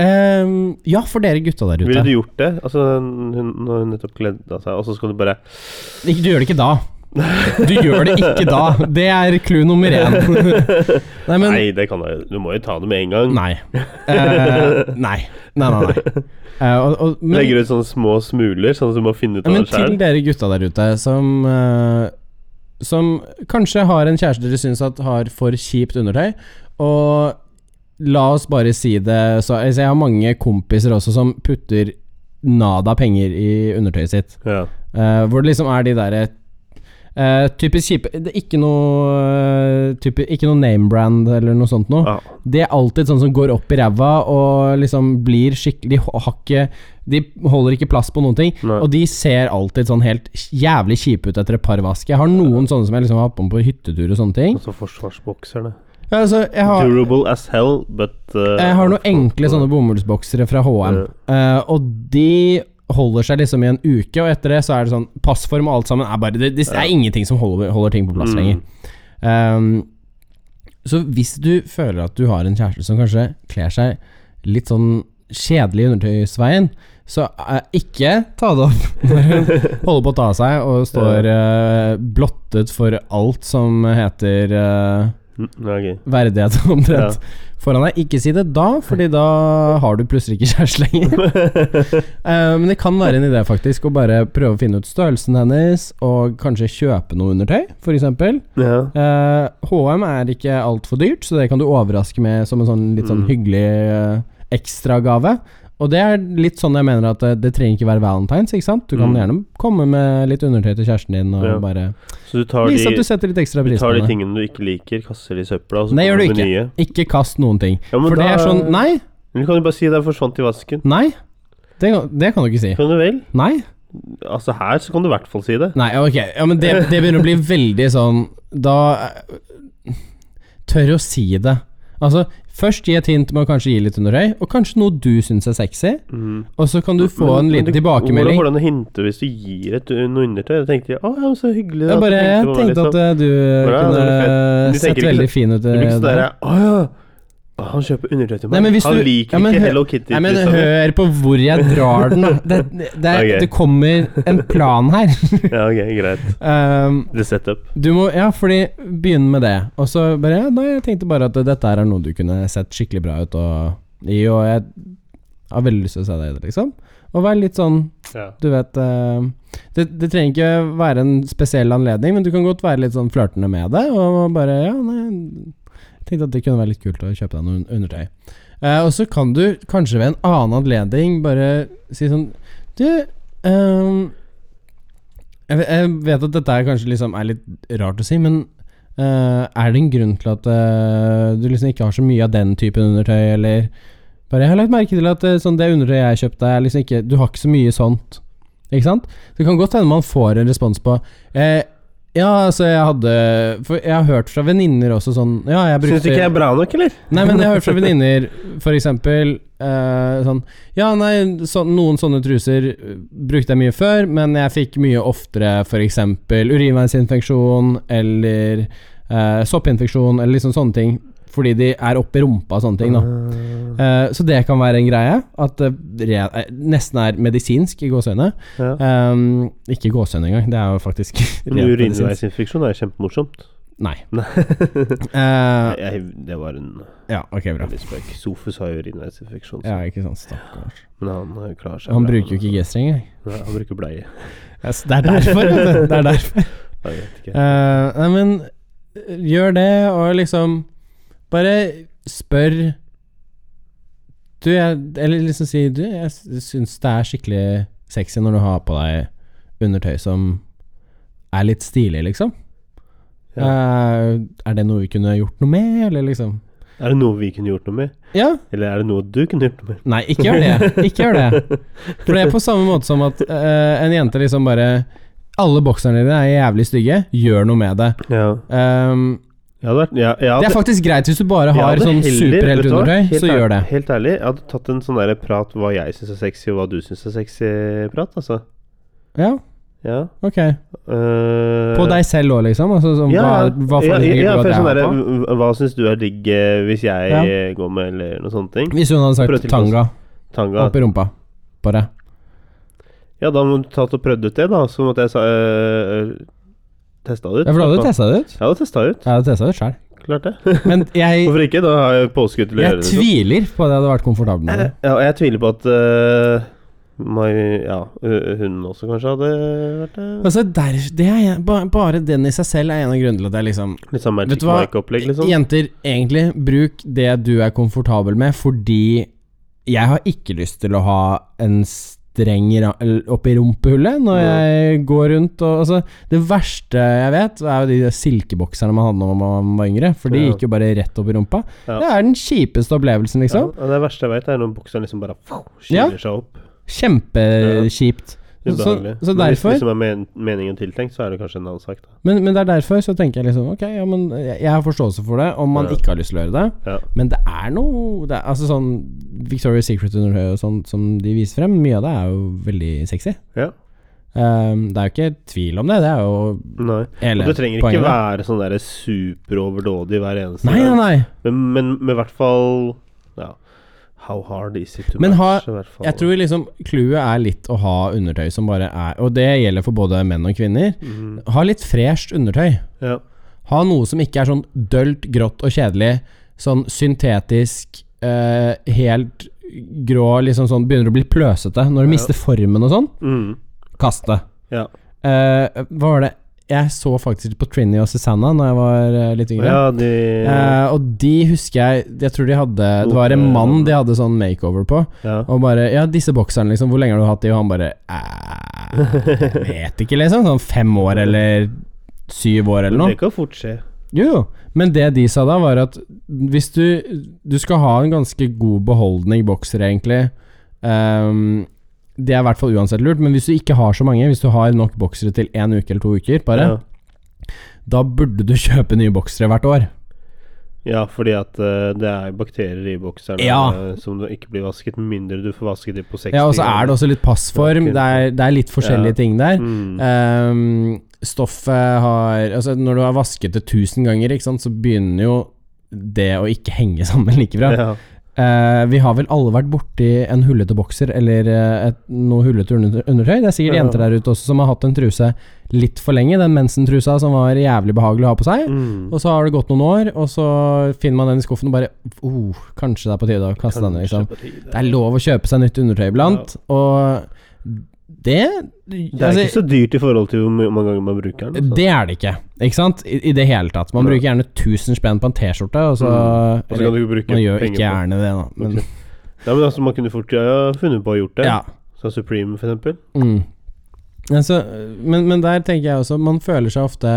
Speaker 1: eh, Ja, for dere gutta der
Speaker 2: Ville du
Speaker 1: ute.
Speaker 2: gjort det? Altså, hun, når hun nettopp kledde av seg, og så skal du bare
Speaker 1: Ikke- Du gjør det ikke da. Du gjør det ikke da. Det er clou nummer
Speaker 2: (laughs)
Speaker 1: én. Nei, men
Speaker 2: Nei, det kan jeg Du må jo ta det med en gang.
Speaker 1: Nei. Eh, nei. Nei, nei, nei. Eh, og, og, men,
Speaker 2: Legger ut sånne små smuler, sånn at du må finne ut
Speaker 1: ja,
Speaker 2: av
Speaker 1: men
Speaker 2: det
Speaker 1: til
Speaker 2: selv
Speaker 1: dere gutta der ute som eh, Som kanskje har en kjæreste dere syns at har for kjipt undertøy, og la oss bare si det så altså, Jeg har mange kompiser også som putter nada penger i undertøyet sitt.
Speaker 2: Ja.
Speaker 1: Eh, hvor det liksom er de derre eh, typisk kjipe det er Ikke noe eh, typi, Ikke noe name-brand eller noe sånt noe.
Speaker 2: Ja.
Speaker 1: Det er alltid sånn som går opp i ræva og liksom blir skikkelig De har ikke De holder ikke plass på noen ting.
Speaker 2: Nei.
Speaker 1: Og de ser alltid sånn helt jævlig kjipe ut etter et par vask. Jeg har noen sånne som jeg liksom har på meg på hyttetur og sånne ting.
Speaker 2: Altså forsvarsbokserne.
Speaker 1: Ja, altså, jeg har,
Speaker 2: Durable as hell, but uh,
Speaker 1: jeg har noen enkle sånne bomullsboksere fra HM, eh, og de holder seg liksom i en uke, og etter det så er det sånn Passform og alt sammen er bare Det, det er ingenting som holder, holder ting på plass lenger. Ehm, så hvis du føler at du har en kjæreste som kanskje kler seg litt sånn kjedelig i undertøysveien, så eh, ikke ta det opp (laughs) når hun holder på å ta av seg og står eh, blottet for alt som heter eh,
Speaker 2: Mm, ja, ok.
Speaker 1: verdighet (laughs) omtrent foran deg. Ikke si det da, fordi da har du plutselig ikke (laughs) kjæreste lenger.
Speaker 2: (laughs)
Speaker 1: Eh, men det kan være en idé, faktisk, å bare prøve å finne ut størrelsen hennes, og kanskje kjøpe noe undertøy, f.eks.
Speaker 2: Ja.
Speaker 1: Eh, HM er ikke altfor dyrt, så det kan du overraske med som en sånn litt sånn
Speaker 2: Mm.
Speaker 1: hyggelig eh, ekstragave. Og det er litt sånn jeg mener at det, det trenger ikke være valentines, ikke sant? Du kan
Speaker 2: Mm.
Speaker 1: gjerne komme med litt undertøy til kjæresten din og
Speaker 2: Ja.
Speaker 1: bare
Speaker 2: Så du tar
Speaker 1: vise
Speaker 2: de,
Speaker 1: at du setter litt ekstra
Speaker 2: du
Speaker 1: pris på
Speaker 2: tar de
Speaker 1: det.
Speaker 2: tingene du ikke liker, kaster de i søpla, og så
Speaker 1: Det gjør
Speaker 2: kommer
Speaker 1: du
Speaker 2: det nye.
Speaker 1: Ikke kast noen ting.
Speaker 2: Ja, men
Speaker 1: For det
Speaker 2: da-
Speaker 1: er sånn Nei,
Speaker 2: Men du kan jo bare si det forsvant i vasken.
Speaker 1: Nei, det, kan- det kan du ikke si.
Speaker 2: Kan du vel?
Speaker 1: Nei?
Speaker 2: Altså her så kan du i hvert fall si det.
Speaker 1: Nei, ok. Ja, men det, det begynner å bli veldig sånn Da eh, Tør å si det. Altså, først gi et hint med å kanskje gi litt underøy, og kanskje noe du syns er sexy,
Speaker 2: Mm.
Speaker 1: og så kan du få en
Speaker 2: Men- men
Speaker 1: liten
Speaker 2: det- Hvordan
Speaker 1: tilbakemelding.
Speaker 2: går det an å hinte hvis du gir et noe undertøy? Da tenkte jeg å, ja, så hyggelig.
Speaker 1: Jeg
Speaker 2: at du
Speaker 1: bare
Speaker 2: tenkte på meg»,
Speaker 1: tenkte at
Speaker 2: liksom.
Speaker 1: eh, du
Speaker 2: Bra, det var
Speaker 1: kunne
Speaker 2: fett. Du tenker
Speaker 1: sett
Speaker 2: ikke
Speaker 1: veldig
Speaker 2: så-
Speaker 1: fin ut.
Speaker 2: Det blir ikke sånn
Speaker 1: eh,
Speaker 2: derre Å ja, å, han kjøper undertøy til
Speaker 1: Nei,
Speaker 2: meg.
Speaker 1: men hvis
Speaker 2: han
Speaker 1: du-
Speaker 2: liker
Speaker 1: ja, men
Speaker 2: ikke
Speaker 1: hø-
Speaker 2: Hello Kitty.
Speaker 1: Nei, men
Speaker 2: liksom.
Speaker 1: hør på hvor jeg drar den, da. Det, det, det, er-
Speaker 2: Ok.
Speaker 1: det kommer en plan her.
Speaker 2: Ja, (laughs) ok, greit.
Speaker 1: Um,
Speaker 2: The setup.
Speaker 1: du må Ja, fordi begynn med det. Og så bare ja, Nei, jeg tenkte bare at dette her er noe du kunne sett skikkelig bra ut og i, og jeg har veldig lyst til å se deg i det, liksom. Og vær litt sånn
Speaker 2: Ja.
Speaker 1: Du vet eh, det, det trenger ikke være en spesiell anledning, men du kan godt være litt sånn flørtende med det. Og bare Ja, nei jeg Tenkte at det kunne være litt kult å kjøpe deg noen undertøy. Eh, og så kan du kanskje ved en annen anledning bare si sånn Du ehm, jeg, ve- jeg vet at dette er kanskje liksom er litt rart å si, men eh, er det en grunn til at eh, du liksom ikke har så mye av den typen undertøy, eller Bare jeg har lagt merke til at eh, sånn det undertøyet jeg kjøpte, er liksom ikke Du har ikke så mye sånt. Ikke sant? Det kan godt hende man får en respons på eh, Ja, altså, jeg hadde For jeg har hørt fra venninner også sånn Ja, jeg brukte
Speaker 2: Syns du ikke jeg er bra nok, eller?
Speaker 1: Nei, men jeg har hørt fra venninner, for eksempel eh, sånn Ja, nei, så, noen sånne truser eh, brukte jeg mye før, men jeg fikk mye oftere for eksempel urinveisinfeksjon eller eh, soppinfeksjon eller liksom sånne ting. Fordi de er oppi rumpa og sånne ting, da. Eh, så det kan være en greie. At det re eh, nesten er medisinsk i gåseøyne.
Speaker 2: Ja.
Speaker 1: Um, ikke i gåseøyne engang, det er jo faktisk (laughs) rent
Speaker 2: Men
Speaker 1: medisinsk.
Speaker 2: Urinveisinfeksjon er
Speaker 1: (laughs)
Speaker 2: kjempemorsomt.
Speaker 1: Nei. Eh,
Speaker 2: Jeg, det var en
Speaker 1: ja, ok, bra.
Speaker 2: veldig spøk. Sofus har jo urinveisinfeksjon, så-
Speaker 1: Ja, ikke sant. Stakkars.
Speaker 2: men han eh, klarer seg
Speaker 1: Han
Speaker 2: bra.
Speaker 1: bruker jo ikke G-streng engang.
Speaker 2: Nei, Han bruker bleie.
Speaker 1: det er derfor. vet du. det er derfor.
Speaker 2: Jeg vet ikke.
Speaker 1: (laughs) Eh, nei, men eh, gjør det, og liksom Bare spør Du, jeg Eller liksom si Du, jeg s- syns det er skikkelig sexy når du har på deg undertøy som er litt stilig, liksom. Eh, er det noe vi kunne gjort noe med, eller liksom
Speaker 2: Er det noe vi kunne gjort noe med?
Speaker 1: Ja,
Speaker 2: Eller er det noe du kunne gjort noe med?
Speaker 1: Nei, ikke gjør det. Ikke gjør det. For det er på samme måte som at eh, en jente liksom bare Alle bokserne dine er jævlig stygge, gjør noe med det.
Speaker 2: Ja.
Speaker 1: Ehm,
Speaker 2: Jeg hadde vært, ja, jeg
Speaker 1: det er
Speaker 2: hadde,
Speaker 1: faktisk greit hvis du bare
Speaker 2: jeg
Speaker 1: har
Speaker 2: hadde
Speaker 1: sånn
Speaker 2: heller- vet du hva?
Speaker 1: superheltundertøy,
Speaker 2: Helt
Speaker 1: så
Speaker 2: ær-
Speaker 1: gjør det.
Speaker 2: Helt ærlig, jeg hadde tatt en sånn der prat hva jeg syns er sexy, og hva du syns er sexy-prat, altså.
Speaker 1: Ja,
Speaker 2: Ja.
Speaker 1: ok.
Speaker 2: Eh,
Speaker 1: På deg selv òg, liksom? Altså, sånn, hva, hva
Speaker 2: ja,
Speaker 1: foretrekker
Speaker 2: ja,
Speaker 1: du at
Speaker 2: for
Speaker 1: jeg
Speaker 2: sånn
Speaker 1: har på?
Speaker 2: derre, hva syns du er digg eh, hvis jeg
Speaker 1: Ja.
Speaker 2: eh, går med, eller noen sånne ting?
Speaker 1: Hvis hun hadde
Speaker 2: Prøv
Speaker 1: sagt
Speaker 2: til
Speaker 1: tanga
Speaker 2: Tanga.
Speaker 1: oppi rumpa på deg.
Speaker 2: Ja, da må du tatt og prøvd ut det, da. Så måtte jeg sa, øh, testa det ut.
Speaker 1: Ja, for da hadde du testa det ut?
Speaker 2: Jeg hadde testa ut,
Speaker 1: Jeg hadde testa det ut sjøl.
Speaker 2: klart det. (laughs)
Speaker 1: Men jeg,
Speaker 2: Hvorfor ikke? Da har jeg påskudd til
Speaker 1: jeg
Speaker 2: å gjøre det. liksom. Eh.
Speaker 1: tviler på at jeg hadde vært komfortabel med det.
Speaker 2: Ja, og jeg tviler på at øh, my- ja, øh, hun også kanskje hadde vært eh, det.
Speaker 1: Altså, der, det er, jeg- ba- bare den i seg selv er en av grunnene til at jeg liksom
Speaker 2: Litt sånn
Speaker 1: Vet
Speaker 2: Magic
Speaker 1: du hva?
Speaker 2: Mike-opplegg, liksom.
Speaker 1: Jenter, egentlig, bruk det du er komfortabel med, fordi jeg har ikke lyst til å ha en streng ra- eller oppi rumpehullet når jeg går rundt og altså, Det verste jeg vet, er jo de der silkebokserne man hadde når man var yngre, for de
Speaker 2: Ja.
Speaker 1: gikk jo bare rett opp i rumpa.
Speaker 2: Ja.
Speaker 1: Det er den kjipeste opplevelsen,
Speaker 2: Ja,
Speaker 1: liksom.
Speaker 2: og det verste jeg veit, er når bokseren liksom bare pff,
Speaker 1: Ja.
Speaker 2: skyller seg opp.
Speaker 1: Kjempekjipt. Så, så,
Speaker 2: Ubehagelig.
Speaker 1: så
Speaker 2: Men Hvis
Speaker 1: derfor
Speaker 2: liksom er men meningen tiltenkt, så er det kanskje en annen sak, da.
Speaker 1: men, men det er derfor så tenker jeg liksom Ok, ja, men jeg, jeg har forståelse for det om man
Speaker 2: Ja.
Speaker 1: ikke har lyst til å gjøre det.
Speaker 2: Ja.
Speaker 1: Men det er noe det er, Altså sånn Victoria's Secret undertøy og sånn som de viser frem, mye av det er jo veldig sexy.
Speaker 2: ja.
Speaker 1: Ehm, det er jo ikke tvil om det, det er jo
Speaker 2: Nei.
Speaker 1: hele
Speaker 2: Og du trenger ikke
Speaker 1: poenget.
Speaker 2: være sånn derre superoverdådig hver eneste
Speaker 1: Nei, nei, nei.
Speaker 2: Men, men med hvert fall Ja. How hard is it to
Speaker 1: Men ha-
Speaker 2: match? i hvert fall.
Speaker 1: Jeg tror liksom clouet er litt å ha undertøy som bare er Og det gjelder for både menn og kvinner.
Speaker 2: Mhm.
Speaker 1: Ha litt fresht undertøy.
Speaker 2: ja.
Speaker 1: Ha noe som ikke er sånn dølt, grått og kjedelig. Sånn syntetisk, eh, helt grå, liksom sånn Begynner å bli pløsete. Når du
Speaker 2: Ja.
Speaker 1: mister formen og sånn,
Speaker 2: Mhm.
Speaker 1: kast det.
Speaker 2: ja.
Speaker 1: Eh, hva var det Jeg så faktisk på Trini og Susanna Når jeg var eh, litt yngre.
Speaker 2: ja, de
Speaker 1: Eh, og de husker jeg Jeg tror de hadde Det var en mann de hadde sånn makeover på.
Speaker 2: ja.
Speaker 1: Og bare Ja, disse bokserne, liksom. Hvor lenge har du hatt de? Og han bare "Eh, jeg Vet ikke, liksom. Sånn fem år eller syv år eller
Speaker 2: Det
Speaker 1: noe.
Speaker 2: kan fort skje.
Speaker 1: Jo, jo, men det de sa da, var at hvis du Du skal ha en ganske god beholdning bokser, egentlig. Ehm, det er i hvert fall uansett lurt, men hvis du ikke har så mange, hvis du har nok boksere til én uke eller to uker, bare,
Speaker 2: Ja.
Speaker 1: da burde du (laughs) kjøpe nye boksere hvert år.
Speaker 2: Ja, fordi at eh, det er bakterier i bokserne
Speaker 1: Ja.
Speaker 2: eh, som du ikke blir vasket, med mindre du får vasket dem på 60
Speaker 1: Ja, Og så er det også litt passform, det er, det er litt forskjellige
Speaker 2: Ja.
Speaker 1: ting der.
Speaker 2: mm.
Speaker 1: Ehm, stoffet har Altså, når du har vasket det 1000 ganger, ikke sant, så begynner jo det å ikke henge (laughs) sammen like bra.
Speaker 2: ja.
Speaker 1: Eh, vi har vel alle vært borti en hullete bokser eller eh, et, noe hullete under- undertøy. Det er sikkert
Speaker 2: Ja.
Speaker 1: jenter der ute også som har hatt en truse litt for lenge. Den mensentrusa som var jævlig behagelig å ha på seg.
Speaker 2: Mm.
Speaker 1: Og så har det gått noen år, og så finner man den i skuffen og bare oh, Kanskje det er på tide å kaste den. Liksom.
Speaker 2: Kanskje på tide.
Speaker 1: Det er lov å kjøpe seg nytt undertøy iblant, og det altså,
Speaker 2: Det er ikke så dyrt i forhold til hvor my- mange ganger man bruker den. altså.
Speaker 1: det er det ikke, ikke sant? I, i det hele tatt. Man
Speaker 2: Nei.
Speaker 1: bruker gjerne 1000 spenn på en T-skjorte, og så
Speaker 2: Mm. Og så Altså, kan du ikke bruke
Speaker 1: Man gjør
Speaker 2: penger
Speaker 1: ikke gjerne det, da.
Speaker 2: på
Speaker 1: Men,
Speaker 2: Ja, men altså, Man kunne fort ja, funnet på å gjort det.
Speaker 1: ja.
Speaker 2: Sånn Supreme, for eksempel.
Speaker 1: Mm. Altså, men, men der tenker jeg også Man føler seg ofte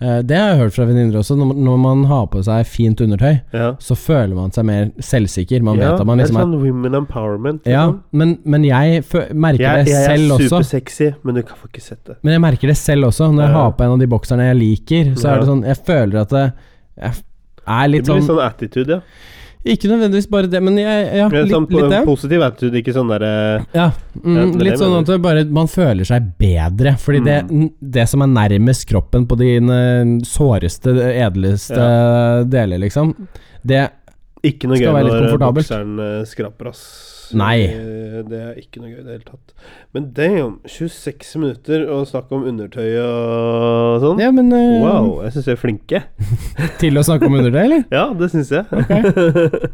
Speaker 1: eh, Det har jeg hørt fra venninner også. Når man, når man har på seg fint undertøy,
Speaker 2: Ja.
Speaker 1: så føler man seg mer selvsikker. Man
Speaker 2: ja,
Speaker 1: vet at man liksom
Speaker 2: Det
Speaker 1: er
Speaker 2: er sånn women empowerment.
Speaker 1: ja,
Speaker 2: liksom.
Speaker 1: men, men jeg fø- merker
Speaker 2: Jeg,
Speaker 1: det
Speaker 2: jeg er
Speaker 1: selv også.
Speaker 2: supersexy, men du kan få ikke sett det.
Speaker 1: Men jeg merker det selv også. Når jeg
Speaker 2: Ja.
Speaker 1: har på en av de bokserne jeg liker, så er det
Speaker 2: Ja.
Speaker 1: sånn Jeg føler at det jeg er
Speaker 2: Det
Speaker 1: litt
Speaker 2: blir
Speaker 1: sånn
Speaker 2: litt sånn
Speaker 1: (laughs)
Speaker 2: attitude, ja.
Speaker 1: Ikke nødvendigvis bare det, men jeg, ja,
Speaker 2: Men
Speaker 1: litt,
Speaker 2: sånn, po-
Speaker 1: litt det.
Speaker 2: Positiv attitude, ikke sånn derre
Speaker 1: Ja,
Speaker 2: Ja,
Speaker 1: mm,
Speaker 2: det er
Speaker 1: litt
Speaker 2: det jeg
Speaker 1: sånn
Speaker 2: mener. Mm.
Speaker 1: at det bare, man føler seg bedre. Fordi det, det som er nærmest kroppen på dine såreste, edleste deler, liksom Det
Speaker 2: Ikke noe
Speaker 1: Skal
Speaker 2: gøy
Speaker 1: være litt
Speaker 2: når eh,
Speaker 1: komfortabelt.
Speaker 2: bokseren eh, skraper, ass.
Speaker 1: Nei.
Speaker 2: Eh, Det er ikke noe gøy i det hele tatt. Men damn, 26 minutter å snakke om undertøy og sånn.
Speaker 1: Ja, men eh,
Speaker 2: Wow, jeg syns vi er flinke.
Speaker 1: Til å snakke om undertøy,
Speaker 2: (laughs)
Speaker 1: eller?
Speaker 2: Ja, det syns jeg.
Speaker 1: (laughs)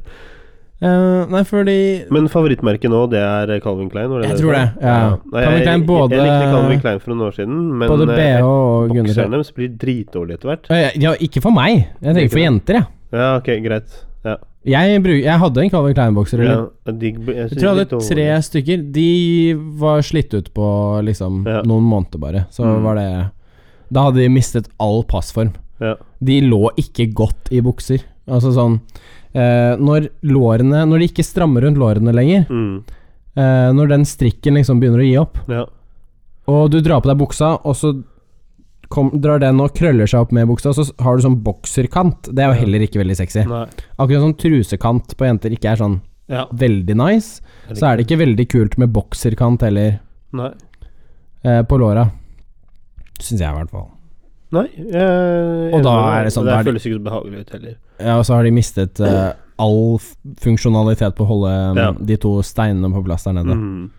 Speaker 1: Eh, nei, fordi
Speaker 2: Men favorittmerket nå, det er Calvin Klein? Var det
Speaker 1: Jeg
Speaker 2: du
Speaker 1: tror
Speaker 2: sa?
Speaker 1: det, ja.
Speaker 2: Nei,
Speaker 1: Calvin Klein
Speaker 2: jeg,
Speaker 1: både-
Speaker 2: jeg likte Calvin Klein for noen år siden, men
Speaker 1: både BH
Speaker 2: eh,
Speaker 1: og
Speaker 2: bokseren
Speaker 1: undertøy
Speaker 2: deres blir dritdårlig etter hvert.
Speaker 1: Eh, Ja, ikke for meg. Jeg tenker for jenter, jeg.
Speaker 2: Ja, ok, greit. Ja.
Speaker 1: Jeg, bruk, jeg hadde en Calvin Klein-bokser.
Speaker 2: ja
Speaker 1: eller-
Speaker 2: de, jeg,
Speaker 1: Mm. Jeg
Speaker 2: synes
Speaker 1: tror jeg
Speaker 2: de
Speaker 1: hadde
Speaker 2: dårlige-
Speaker 1: tre stykker. De var slitt ut på liksom
Speaker 2: Ja.
Speaker 1: noen måneder, bare. Så
Speaker 2: Mm.
Speaker 1: var det Da hadde de mistet all passform.
Speaker 2: Ja.
Speaker 1: De lå ikke godt i bukser. Altså sånn eh, Når lårene Når de ikke strammer rundt lårene lenger,
Speaker 2: Mm,
Speaker 1: eh, når den strikken liksom begynner å gi opp,
Speaker 2: ja.
Speaker 1: og du drar på deg buksa, og så kom, drar den og krøller seg opp med buksa, så s- har du sånn bokserkant. Det er jo heller ikke veldig sexy.
Speaker 2: Nei.
Speaker 1: Akkurat sånn trusekant på jenter ikke er sånn
Speaker 2: Ja.
Speaker 1: veldig nice, så er det ikke veldig kult med bokserkant heller
Speaker 2: Nei.
Speaker 1: eh, på låra. Syns jeg, i hvert fall.
Speaker 2: Nei jeg,
Speaker 1: Og da er det sånn,
Speaker 2: Det
Speaker 1: da
Speaker 2: her
Speaker 1: er det-
Speaker 2: føles ikke så behagelig ut heller.
Speaker 1: Ja, og så har de mistet eh, all f- funksjonalitet på å holde mm,
Speaker 2: Ja.
Speaker 1: de to steinene på plass der nede.
Speaker 2: Mm.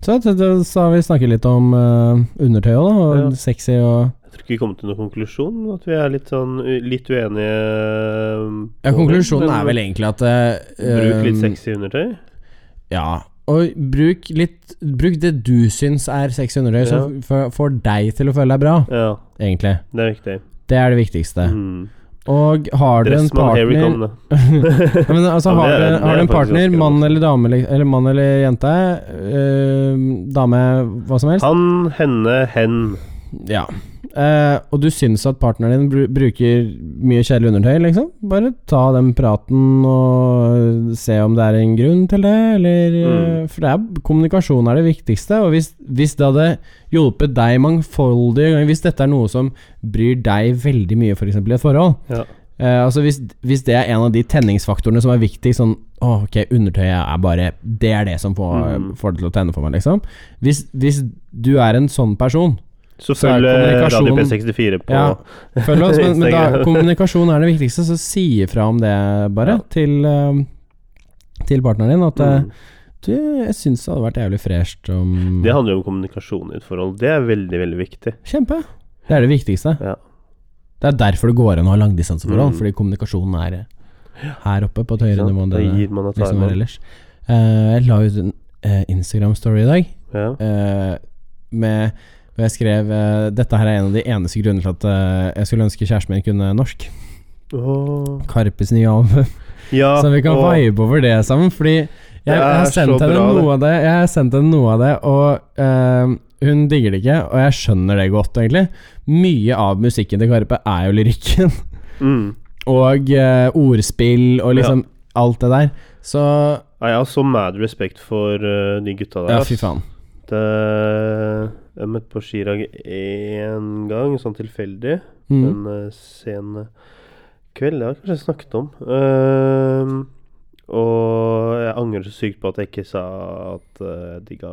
Speaker 1: Så, det- det- så har vi snakket litt om eh, undertøy òg, da. Og
Speaker 2: Ja.
Speaker 1: sexy og
Speaker 2: Jeg tror ikke vi kom til noen konklusjon. At vi er litt sånn u- litt uenige. um,
Speaker 1: Ja,
Speaker 2: på det,
Speaker 1: konklusjonen
Speaker 2: men
Speaker 1: er vel egentlig at eh,
Speaker 2: Bruk litt
Speaker 1: eh,
Speaker 2: sexy undertøy.
Speaker 1: Ja. Og bruk litt Bruk det du syns er sexy undertøy, som f- f- får deg til å føle deg bra,
Speaker 2: Ja,
Speaker 1: egentlig.
Speaker 2: det er viktig.
Speaker 1: Det er det viktigste.
Speaker 2: Mm.
Speaker 1: Og har du en
Speaker 2: Dressmann, here we
Speaker 1: partner
Speaker 2: come, da.
Speaker 1: (laughs) Ja, men altså,
Speaker 2: Ja,
Speaker 1: har,
Speaker 2: det
Speaker 1: du,
Speaker 2: er- det
Speaker 1: har
Speaker 2: er
Speaker 1: du en
Speaker 2: faktisk
Speaker 1: partner,
Speaker 2: ganske
Speaker 1: mann
Speaker 2: vanskelig.
Speaker 1: eller dame, eller- eller mann eller jente, eh, dame, hva som (laughs) helst
Speaker 2: Han, henne, hen.
Speaker 1: Ja. Eh, og du syns at partneren din bru- bruker mye kjedelig undertøy, liksom? Bare ta den praten og se om det er en grunn til det, eller
Speaker 2: Mm.
Speaker 1: eh, For det er, kommunikasjon er det viktigste, og hvis, hvis det hadde hjulpet deg mangfoldige ganger Hvis dette er noe som bryr deg veldig mye, f.eks. i et forhold,
Speaker 2: Ja.
Speaker 1: Eh, altså hvis, hvis det er en av de tenningsfaktorene som er viktig Sånn, «Åh, ok, undertøyet er bare Det er det som får,
Speaker 2: Mm.
Speaker 1: får det til å tenne for meg liksom Hvis, hvis du er en sånn person
Speaker 2: Så
Speaker 1: Så er
Speaker 2: følg eh,
Speaker 1: kommunikasjon-
Speaker 2: Radio P64 på
Speaker 1: Ja. Følg oss,
Speaker 2: (laughs)
Speaker 1: men, men da,
Speaker 2: Instagram.
Speaker 1: kommunikasjon er det viktigste Så si ifra om det bare
Speaker 2: Ja.
Speaker 1: til, eh, til partneren din At eh,
Speaker 2: Mm.
Speaker 1: du, jeg synes det hadde vært jævlig fresht om
Speaker 2: Det handler jo om kommunikasjon i et forhold. Det er veldig, veldig viktig.
Speaker 1: Kjempe, det er det viktigste
Speaker 2: Ja.
Speaker 1: Det er derfor det går an å ha langdistanseforhold
Speaker 2: Mm.
Speaker 1: Fordi kommunikasjonen er eh, her oppe på et høyere nivå enn
Speaker 2: Da
Speaker 1: det det-
Speaker 2: gir man og tar
Speaker 1: liksom
Speaker 2: man.
Speaker 1: ellers. Eh, jeg la ut en eh, Instagram-story i dag
Speaker 2: Ja.
Speaker 1: eh, med hvor jeg skrev eh, Dette her er en av de eneste grunnene til at eh, jeg skulle ønske kjæresten min kunne norsk.
Speaker 2: Åh.
Speaker 1: Karpes nye album.
Speaker 2: ja.
Speaker 1: så vi kan
Speaker 2: åh.
Speaker 1: vibe over det sammen. Fordi jeg,
Speaker 2: Det
Speaker 1: jeg har
Speaker 2: er så
Speaker 1: sendt henne
Speaker 2: bra, det.
Speaker 1: noe av det, Jeg har sendt henne noe av det og eh, Hun digger det ikke, og jeg skjønner det godt, egentlig. Mye av musikken til Karpe er jo lyrikken, (laughs)
Speaker 2: Mm.
Speaker 1: og eh, ordspill og liksom alt det der. Så
Speaker 2: Nei, jeg har så mad respekt for eh, de gutta der.
Speaker 1: Ja,
Speaker 2: ass.
Speaker 1: fy faen.
Speaker 2: Det- eh, jeg møtte på skirag én gang, sånn tilfeldig.
Speaker 1: Mm.
Speaker 2: en eh, sen kveld. Det har jeg kanskje snakket om. Ehm, og jeg angrer så sykt på at jeg ikke sa at eh, jeg digga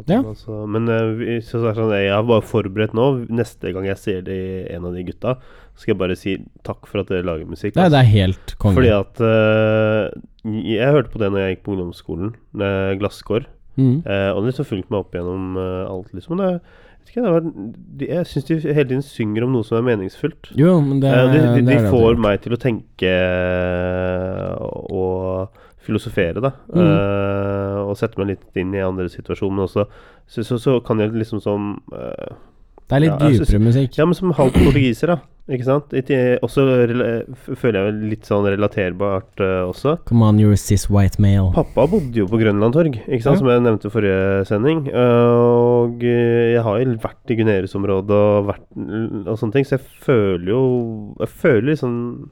Speaker 2: at
Speaker 1: Ja.
Speaker 2: altså. Men eh, vi- så sa jeg sånn, jeg har bare forberedt nå. Neste gang jeg ser de, en av de gutta, skal jeg bare si takk for at dere lager musikk.
Speaker 1: Nei,
Speaker 2: altså.
Speaker 1: det er helt
Speaker 2: Fordi
Speaker 1: konge.
Speaker 2: at eh, Jeg hørte på det når jeg gikk på ungdomsskolen. eh, Glasskår.
Speaker 1: Mm.
Speaker 2: Eh, og det liksom fulgte meg opp gjennom eh, alt, liksom. Det, vet ikke, det var, de, jeg syns de hele tiden synger om noe som er meningsfullt.
Speaker 1: Jo, men det,
Speaker 2: Eh, de, de,
Speaker 1: det
Speaker 2: de
Speaker 1: er det
Speaker 2: får
Speaker 1: alltid.
Speaker 2: meg til å tenke eh, og filosofere, da.
Speaker 1: Mm.
Speaker 2: Eh, og sette meg litt inn i andre situasjoner. Men også så, så, så kan jeg liksom som eh,
Speaker 1: Det er litt
Speaker 2: Ja, jeg
Speaker 1: dypere musikk.
Speaker 2: Ja, men som halvt portugiser, da. Ikke sant? Ikke- også rela- f- føler jeg vel litt sånn relaterbart eh, også.
Speaker 1: Come on, you're cis white male.
Speaker 2: Pappa bodde jo på Grønland torg, ikke sant,
Speaker 1: Ja.
Speaker 2: som jeg nevnte i forrige sending. Eh, Og eh, jeg har jo vært i Gunerius-området og, vært- og sånne ting, så jeg føler jo Jeg føler liksom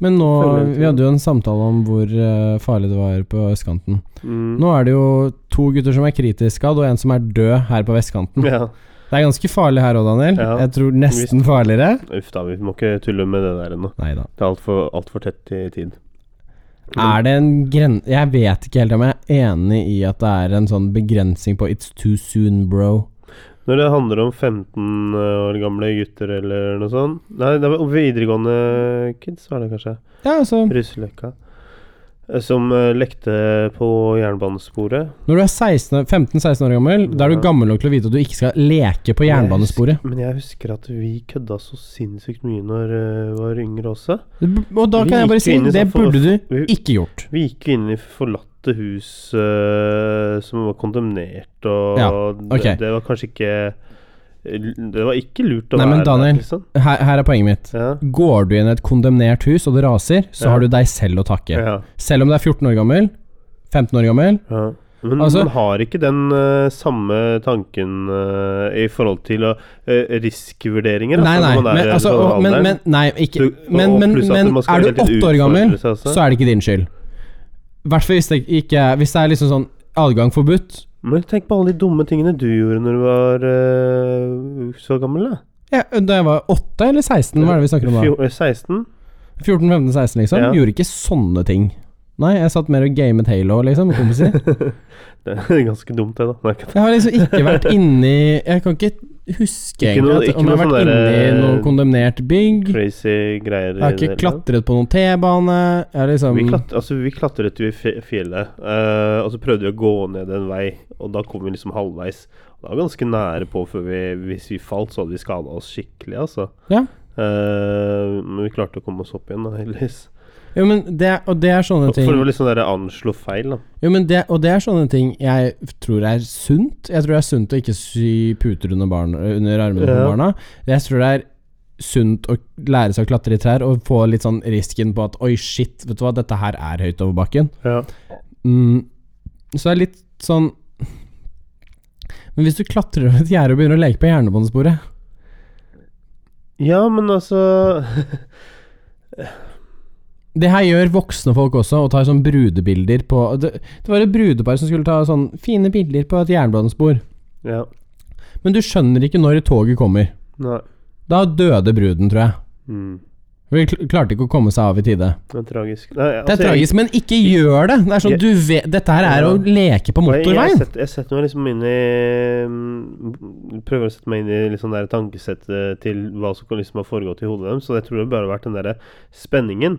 Speaker 1: Men nå
Speaker 2: Føler jeg
Speaker 1: Vi hadde jo en samtale om hvor eh, farlig det var på østkanten.
Speaker 2: mm,
Speaker 1: Nå er det jo to gutter som er kritisk skadd, og en som er død her på vestkanten.
Speaker 2: Ja.
Speaker 1: Det er ganske farlig her òg, Daniel.
Speaker 2: Ja.
Speaker 1: Jeg tror nesten farligere.
Speaker 2: Uff da, vi må ikke tulle med det der ennå.
Speaker 1: Nei da.
Speaker 2: Det er altfor alt for tett i tid.
Speaker 1: Er det en gren... Jeg vet ikke helt om jeg er enig i at det er en sånn begrensning på 'it's too soon, bro'.
Speaker 2: Når det handler om 15 år gamle gutter eller noe sånt Nei, det var videregående kids, var det kanskje.
Speaker 1: Ja, altså
Speaker 2: Russeløkka. Eh, Som eh, lekte på jernbanesporet.
Speaker 1: Når du er 16 15-16 år gammel, da er du
Speaker 2: Ja.
Speaker 1: gammel nok til å vite at du ikke skal leke på jernbanesporet.
Speaker 2: Men jeg husker at vi kødda så sinnssykt mye når jeg var yngre også.
Speaker 1: Og da
Speaker 2: Vi
Speaker 1: kan jeg
Speaker 2: gikk
Speaker 1: bare si
Speaker 2: inn i
Speaker 1: det
Speaker 2: sånn for-
Speaker 1: burde du
Speaker 2: vi-
Speaker 1: ikke gjort.
Speaker 2: Vi gikk jo inn i forlatte hus eh, som var kondemnert, og
Speaker 1: Ja, ok.
Speaker 2: det, det var kanskje ikke Det var ikke lurt å
Speaker 1: Nei, men
Speaker 2: være
Speaker 1: Daniel.
Speaker 2: der, liksom.
Speaker 1: Her, her er poenget mitt.
Speaker 2: Ja.
Speaker 1: Går du inn i et kondemnert hus og det raser, så
Speaker 2: Ja.
Speaker 1: har du deg selv å takke.
Speaker 2: Ja.
Speaker 1: Selv om du er 14 år gammel, 15 år gammel
Speaker 2: Ja. Men
Speaker 1: Altså-
Speaker 2: man har ikke den eh, samme tanken eh, i forhold til å, eh, riskvurderinger.
Speaker 1: Nei, nei,
Speaker 2: når man er
Speaker 1: men,
Speaker 2: i
Speaker 1: altså,
Speaker 2: den
Speaker 1: og, men,
Speaker 2: alderen.
Speaker 1: men, nei, ikke,
Speaker 2: Du-
Speaker 1: men,
Speaker 2: og
Speaker 1: men,
Speaker 2: pluss at
Speaker 1: men
Speaker 2: man skal
Speaker 1: er
Speaker 2: hele
Speaker 1: du
Speaker 2: tiden
Speaker 1: åtte år gammel,
Speaker 2: utfordre seg også.
Speaker 1: så er det ikke din skyld. I hvert fall hvis det ikke er Hvis det er liksom sånn adgang forbudt.
Speaker 2: men tenk på alle de dumme tingene du gjorde når du var eh, så gammel, da.
Speaker 1: Ja, da jeg var åtte eller 16, hva er det vi snakker om da?
Speaker 2: Fjo- eh, 16?
Speaker 1: 14-15-16, liksom.
Speaker 2: Ja.
Speaker 1: Gjorde ikke sånne ting. Nei, jeg satt mer og gamet Halo, liksom, med kompiser.
Speaker 2: (laughs) Det er ganske dumt, det, da. Nei, ikke-
Speaker 1: Jeg har liksom ikke vært inni Jeg kan ikke huske
Speaker 2: Ikke noe-
Speaker 1: egentlig at-
Speaker 2: ikke
Speaker 1: om jeg har
Speaker 2: noe
Speaker 1: vært
Speaker 2: sånn
Speaker 1: inni
Speaker 2: der,
Speaker 1: noe
Speaker 2: eh,
Speaker 1: kondemnert bygg.
Speaker 2: Crazy greier. i
Speaker 1: Jeg har
Speaker 2: det hele
Speaker 1: ikke
Speaker 2: tatt.
Speaker 1: klatret på noen T-bane. Jeg har liksom
Speaker 2: Vi, klat, altså, vi klatret jo i fje- fjellet, eh, og så prøvde vi å gå ned en vei, og da kom vi liksom halvveis. Og Da var vi ganske nære på før vi Hvis vi falt, så hadde vi skada oss skikkelig, altså.
Speaker 1: Ja.
Speaker 2: Eh, men vi klarte å komme oss opp igjen, da, (laughs) heldigvis.
Speaker 1: Jo, men det, og det er sånne
Speaker 2: For
Speaker 1: ting
Speaker 2: det var liksom der anslå feil, da.
Speaker 1: Jo, men det, og det er sånne ting jeg tror er sunt. Jeg tror det er sunt å ikke sy puter under, barn, under armene på
Speaker 2: Ja.
Speaker 1: barna. Jeg tror det er sunt å lære seg å klatre i trær og få litt sånn risken på at oi, shit, vet du hva, dette her er høyt over bakken.
Speaker 2: Ja.
Speaker 1: Mm. Så det er litt sånn Men hvis du klatrer over et gjerde og begynner å leke på jernbanesporet
Speaker 2: ja, men altså (laughs)
Speaker 1: Det her gjør voksne folk også, og tar sånn brudebilder på Det, det var et brudepar som skulle ta sånn fine bilder på et jernbanespor.
Speaker 2: Ja.
Speaker 1: Men du skjønner ikke når toget kommer.
Speaker 2: Nei.
Speaker 1: Da døde bruden, tror jeg.
Speaker 2: Mm.
Speaker 1: Hun kl- klarte ikke å komme seg av i tide.
Speaker 2: Det er tragisk. Nei,
Speaker 1: Det er
Speaker 2: altså, jeg-
Speaker 1: tragisk, men ikke gjør det! Det er sånn,
Speaker 2: Jeg-
Speaker 1: du vet, Dette her er å leke på
Speaker 2: Og jeg- Jeg,
Speaker 1: motorveien!
Speaker 2: setter- jeg setter meg liksom inn i mm, Prøver å sette meg inn i litt sånn der tankesettet til hva som kan liksom ha foregått i hodet deres. Så jeg tror det bare har vært den derre spenningen.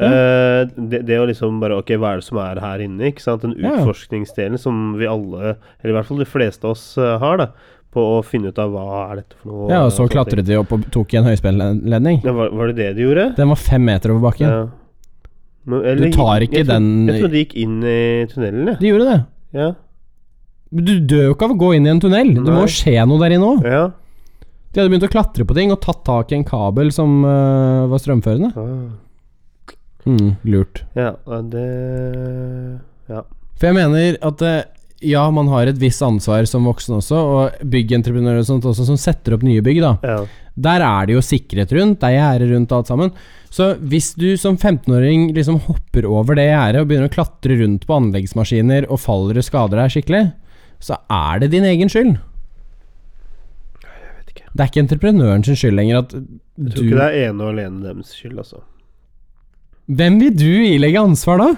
Speaker 2: Eh, det, det å liksom bare Ok, hva er det som er her inne? Ikke sant? Den
Speaker 1: Ja.
Speaker 2: utforskningsdelen som vi alle, eller i hvert fall de fleste av oss, eh, har. da På å finne ut av hva er dette for noe.
Speaker 1: Ja, og så
Speaker 2: sånne ting.
Speaker 1: klatret de opp og tok i en høyspennledning.
Speaker 2: Ja, var, var det det de gjorde?
Speaker 1: Den var fem meter over bakken.
Speaker 2: Ja. Men- eller-
Speaker 1: tar ikke
Speaker 2: jeg, tror-
Speaker 1: den-
Speaker 2: Jeg tror de gikk inn i tunnelen, jeg.
Speaker 1: De gjorde det.
Speaker 2: Ja.
Speaker 1: Men Du dør jo ikke av å gå inn i en tunnel. Det må
Speaker 2: Nei.
Speaker 1: jo skje noe der inne òg.
Speaker 2: ja.
Speaker 1: De hadde begynt å klatre på ting og tatt tak i en kabel som øh, var strømførende.
Speaker 2: Ah.
Speaker 1: Mm, lurt.
Speaker 2: Ja, og det Ja.
Speaker 1: For jeg mener at eh, ja, man har et visst ansvar som voksen også, og byggentreprenører og sånt også, som setter opp nye bygg, da.
Speaker 2: Ja.
Speaker 1: Der er det jo sikkerhet rundt, det er gjerde rundt og alt sammen. Så hvis du som 15-åring liksom hopper over det gjerdet og begynner å klatre rundt på anleggsmaskiner og faller og skader deg skikkelig, så er det din egen skyld.
Speaker 2: vet ikke.
Speaker 1: Det er ikke entreprenøren sin skyld lenger at
Speaker 2: Jeg
Speaker 1: du
Speaker 2: tror ikke det er ene og alene deres skyld, altså.
Speaker 1: Hvem vil du ilegge ansvar da?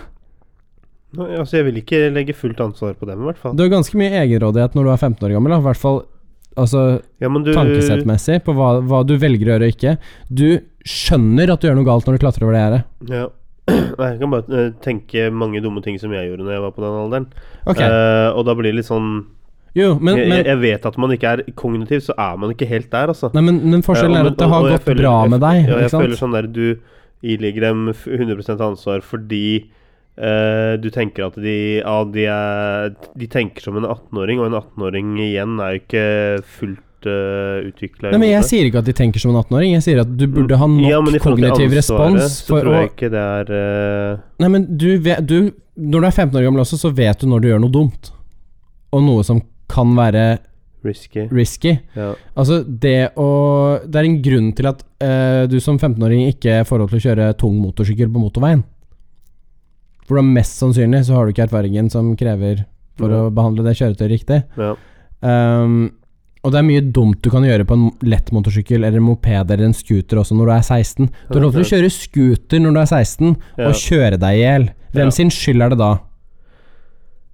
Speaker 2: Nå, altså. Jeg vil ikke legge fullt ansvar på dem, i hvert fall.
Speaker 1: Du har ganske mye egenrådighet når du er 15 år gammel, da. I hvert fall altså,
Speaker 2: Ja, men du
Speaker 1: tankesettmessig, på hva, hva du velger å gjøre og ikke. Du skjønner at du gjør noe galt når du klatrer over det gjerdet.
Speaker 2: Ja. (clears throat) Nei, jeg kan bare eh, tenke mange dumme ting som jeg gjorde Når jeg var på den alderen.
Speaker 1: Ok,
Speaker 2: Eh, og da blir det litt sånn
Speaker 1: jo, men,
Speaker 2: jeg,
Speaker 1: men
Speaker 2: jeg- jeg vet at man ikke er kognitiv, så er man ikke helt der, altså.
Speaker 1: Nei, men, men forskjellen
Speaker 2: Ja,
Speaker 1: er
Speaker 2: men-
Speaker 1: at det har
Speaker 2: og jeg
Speaker 1: gått
Speaker 2: føler-
Speaker 1: bra
Speaker 2: jeg-
Speaker 1: med deg.
Speaker 2: Ja, jeg
Speaker 1: ikke sant?
Speaker 2: føler sånn der du ilegger dem f- 100 ansvar fordi eh, du tenker at de Ja, de, er, de tenker som en 18-åring, og en 18-åring igjen er jo ikke fullt uh, utvikla.
Speaker 1: Nei, men Jeg sier ikke at de tenker som en 18-åring. Jeg sier at du burde ha
Speaker 2: Mm.
Speaker 1: nok kognitiv respons
Speaker 2: Så
Speaker 1: for å
Speaker 2: tror jeg ikke det er eh,
Speaker 1: Nei, men du, vet, du Når du er 15 år gammel også, så vet du når du gjør noe dumt. Og noe som kan være
Speaker 2: risky.
Speaker 1: risky.
Speaker 2: Ja.
Speaker 1: Altså, det å Det er en grunn til at eh, du som 15-åring ikke får lov til å kjøre tung motorsykkel på motorveien. For da mest sannsynlig så har du ikke erfaringen som krever for
Speaker 2: Ja.
Speaker 1: å behandle det kjøretøyet riktig.
Speaker 2: ja.
Speaker 1: Ehm, og det er mye dumt du kan gjøre på en lett motorsykkel eller en moped eller en scooter også når du er 16. Du har lov til å kjøre scooter når du er 16,
Speaker 2: Ja.
Speaker 1: og kjøre deg i hjel.
Speaker 2: Ja.
Speaker 1: Hvem sin skyld er det da?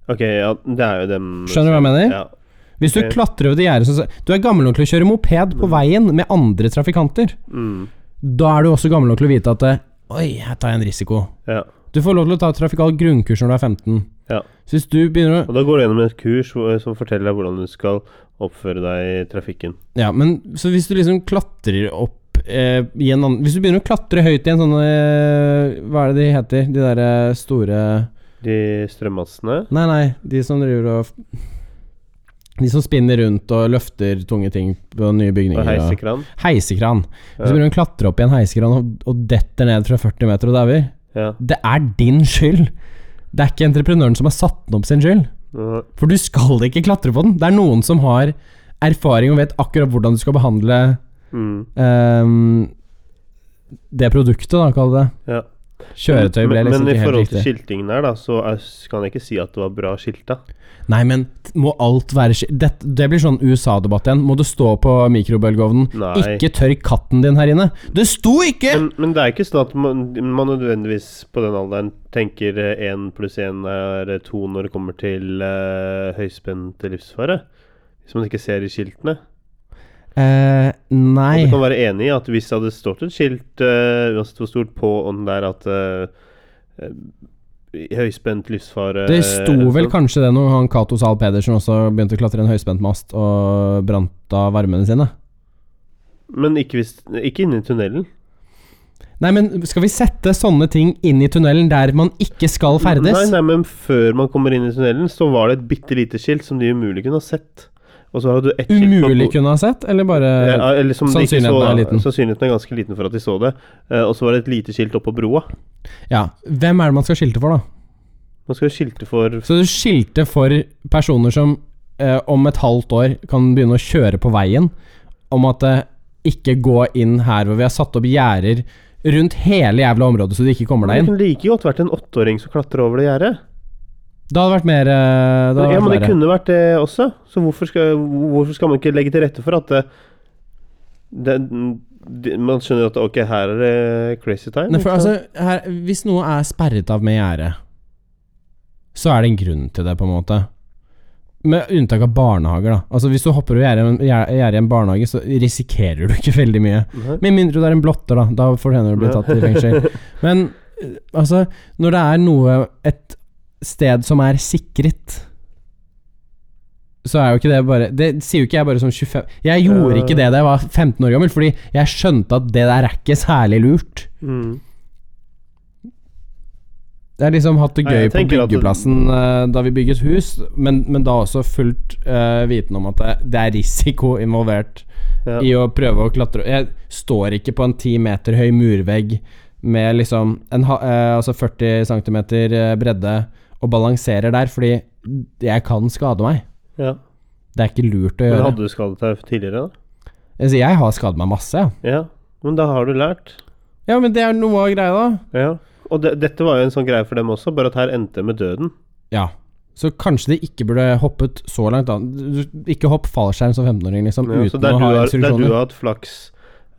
Speaker 2: Ok, ja, det er jo dem
Speaker 1: Skjønner du hva jeg mener?
Speaker 2: Ja. Mm.
Speaker 1: Hvis du
Speaker 2: Ok.
Speaker 1: klatrer over det gjerdet som Du er gammel nok til å kjøre moped på veien med andre trafikanter.
Speaker 2: Mm.
Speaker 1: Da er du også gammel nok til å vite at eh, Oi, her tar jeg en risiko.
Speaker 2: ja.
Speaker 1: Du får lov til å ta trafikal grunnkurs når du er 15.
Speaker 2: Ja.
Speaker 1: Så hvis du begynner å
Speaker 2: Og da går du gjennom et kurs hvor- som forteller deg hvordan du skal oppføre deg i trafikken.
Speaker 1: Ja, men så hvis du liksom klatrer opp eh, i en annen Hvis du begynner å klatre høyt i en sånn eh, Hva er det de heter? De derre store
Speaker 2: De strømmassene
Speaker 1: Nei, nei, de som driver og De som spinner rundt og løfter tunge ting på nye
Speaker 2: og
Speaker 1: bygninger. og-
Speaker 2: heisekran.
Speaker 1: heisekran. Hvis
Speaker 2: Ja.
Speaker 1: du begynner å klatre opp i en heisekran og, og detter ned fra 40 meter og dauer,
Speaker 2: Ja.
Speaker 1: det er din skyld! Det er ikke entreprenøren som har satt den opp sin skyld.
Speaker 2: Ja.
Speaker 1: For du skal ikke klatre på den. Det er noen som har erfaring og vet akkurat hvordan du skal behandle
Speaker 2: Mm.
Speaker 1: Ehm, det produktet, da, kall det.
Speaker 2: ja.
Speaker 1: Kjøretøy ble
Speaker 2: Men-
Speaker 1: liksom
Speaker 2: Men i
Speaker 1: ikke helt
Speaker 2: forhold til
Speaker 1: riktig.
Speaker 2: skiltingen her, da, så er, kan jeg ikke si at det var bra skilta.
Speaker 1: Nei, men t- må alt være skil- det, det blir sånn USA-debatt igjen. Må du stå på mikrobølgeovnen?
Speaker 2: Nei.
Speaker 1: Ikke tørk katten din her inne! Det sto ikke!
Speaker 2: Men, men det er ikke sånn at man, man nødvendigvis på den alderen tenker én pluss én er eh, to når det kommer til uh, høyspent livsfare. Hvis man ikke ser i skiltene.
Speaker 1: Eh,
Speaker 2: Og du
Speaker 1: nei.
Speaker 2: kan være enig i at hvis det hadde stått et skilt eh, uansett hvor stort på den der at eh, eh, høyspent livsfare
Speaker 1: Det sto
Speaker 2: eh,
Speaker 1: vel
Speaker 2: sånn.
Speaker 1: kanskje det når han Cato Zahl Pedersen også begynte å klatre en høyspent mast og brant av varmene sine.
Speaker 2: Men ikke, hvis, ikke inne i tunnelen.
Speaker 1: Nei, men skal vi sette sånne ting inn i tunnelen der man ikke skal ferdes?
Speaker 2: Nei, nei, men før man kommer inn i tunnelen, så var det et bitte lite skilt som de umulig kunne ha sett. Og så har du ett skilt på
Speaker 1: Umulig
Speaker 2: bo-
Speaker 1: kunne ha sett, eller bare
Speaker 2: Ja, eller som de ikke
Speaker 1: sannsynligheten
Speaker 2: så, da.
Speaker 1: er liten.
Speaker 2: Sannsynligheten er ganske liten for at de så det. Eh, og så var det et lite skilt oppå broa.
Speaker 1: Ja. Hvem er det man skal skilte for, da?
Speaker 2: Man skal jo skilte for
Speaker 1: Så du skilte for personer som eh, om et halvt år kan begynne å kjøre på veien, om at eh, ikke gå inn her hvor vi har satt opp gjerder rundt hele jævla området så du ikke kommer
Speaker 2: Det
Speaker 1: deg inn.
Speaker 2: kunne like godt vært en åtteåring som klatrer over det gjerdet.
Speaker 1: Det hadde vært mer eh, det hadde
Speaker 2: Ja,
Speaker 1: vært
Speaker 2: men det
Speaker 1: verre.
Speaker 2: kunne vært det også. Så hvorfor skal, hvorfor skal man ikke legge til rette for at det, det, det, Man skjønner at ok, her er det crazy time.
Speaker 1: Nei, for,
Speaker 2: ikke
Speaker 1: altså,
Speaker 2: sant?
Speaker 1: her, hvis noe er sperret av med gjerde, så er det en grunn til det, på en måte. Med unntak av barnehager, da. Altså Hvis du hopper over gjerdet gjerde gjerde i en barnehage, så risikerer du ikke veldig mye.
Speaker 2: Nei.
Speaker 1: Med mindre du er en blotter, da. Da fortjener du å bli tatt i
Speaker 2: (laughs)
Speaker 1: fengsel. Men eh, altså, når det er noe Et sted som er sikret så er jo ikke det bare Det sier jo ikke jeg bare som 25 Jeg gjorde ikke det da jeg var 15 år gammel, fordi jeg skjønte at det der er ikke særlig lurt.
Speaker 2: Mm.
Speaker 1: Jeg har liksom hatt det
Speaker 2: Nei,
Speaker 1: gøy
Speaker 2: jeg
Speaker 1: på
Speaker 2: tenker at-
Speaker 1: byggeplassen eh, da vi bygget hus, men, men da også fullt eh, viten om at det, det er risiko involvert
Speaker 2: Ja.
Speaker 1: i å prøve å klatre Jeg står ikke på en ti meter høy murvegg med liksom en, ha- eh, altså 40 cm bredde og balanserer der, fordi jeg kan skade meg.
Speaker 2: Ja.
Speaker 1: Det er ikke lurt å
Speaker 2: Men
Speaker 1: gjøre.
Speaker 2: hadde du skadet deg tidligere, da?
Speaker 1: Altså, jeg har skadet meg masse. ja.
Speaker 2: Ja. Men da har du lært.
Speaker 1: Ja, men det er noe av greia, da.
Speaker 2: Ja. Og det, dette var jo en sånn greie for dem også, bare at her endte det med døden.
Speaker 1: Ja. Så kanskje de ikke burde hoppet så langt, da. Du- du- Ikke hopp fallskjerm som 15-åring, liksom,
Speaker 2: Ja, så
Speaker 1: uten
Speaker 2: der,
Speaker 1: å ha
Speaker 2: du har, der du
Speaker 1: instruksjoner.
Speaker 2: har hatt flaks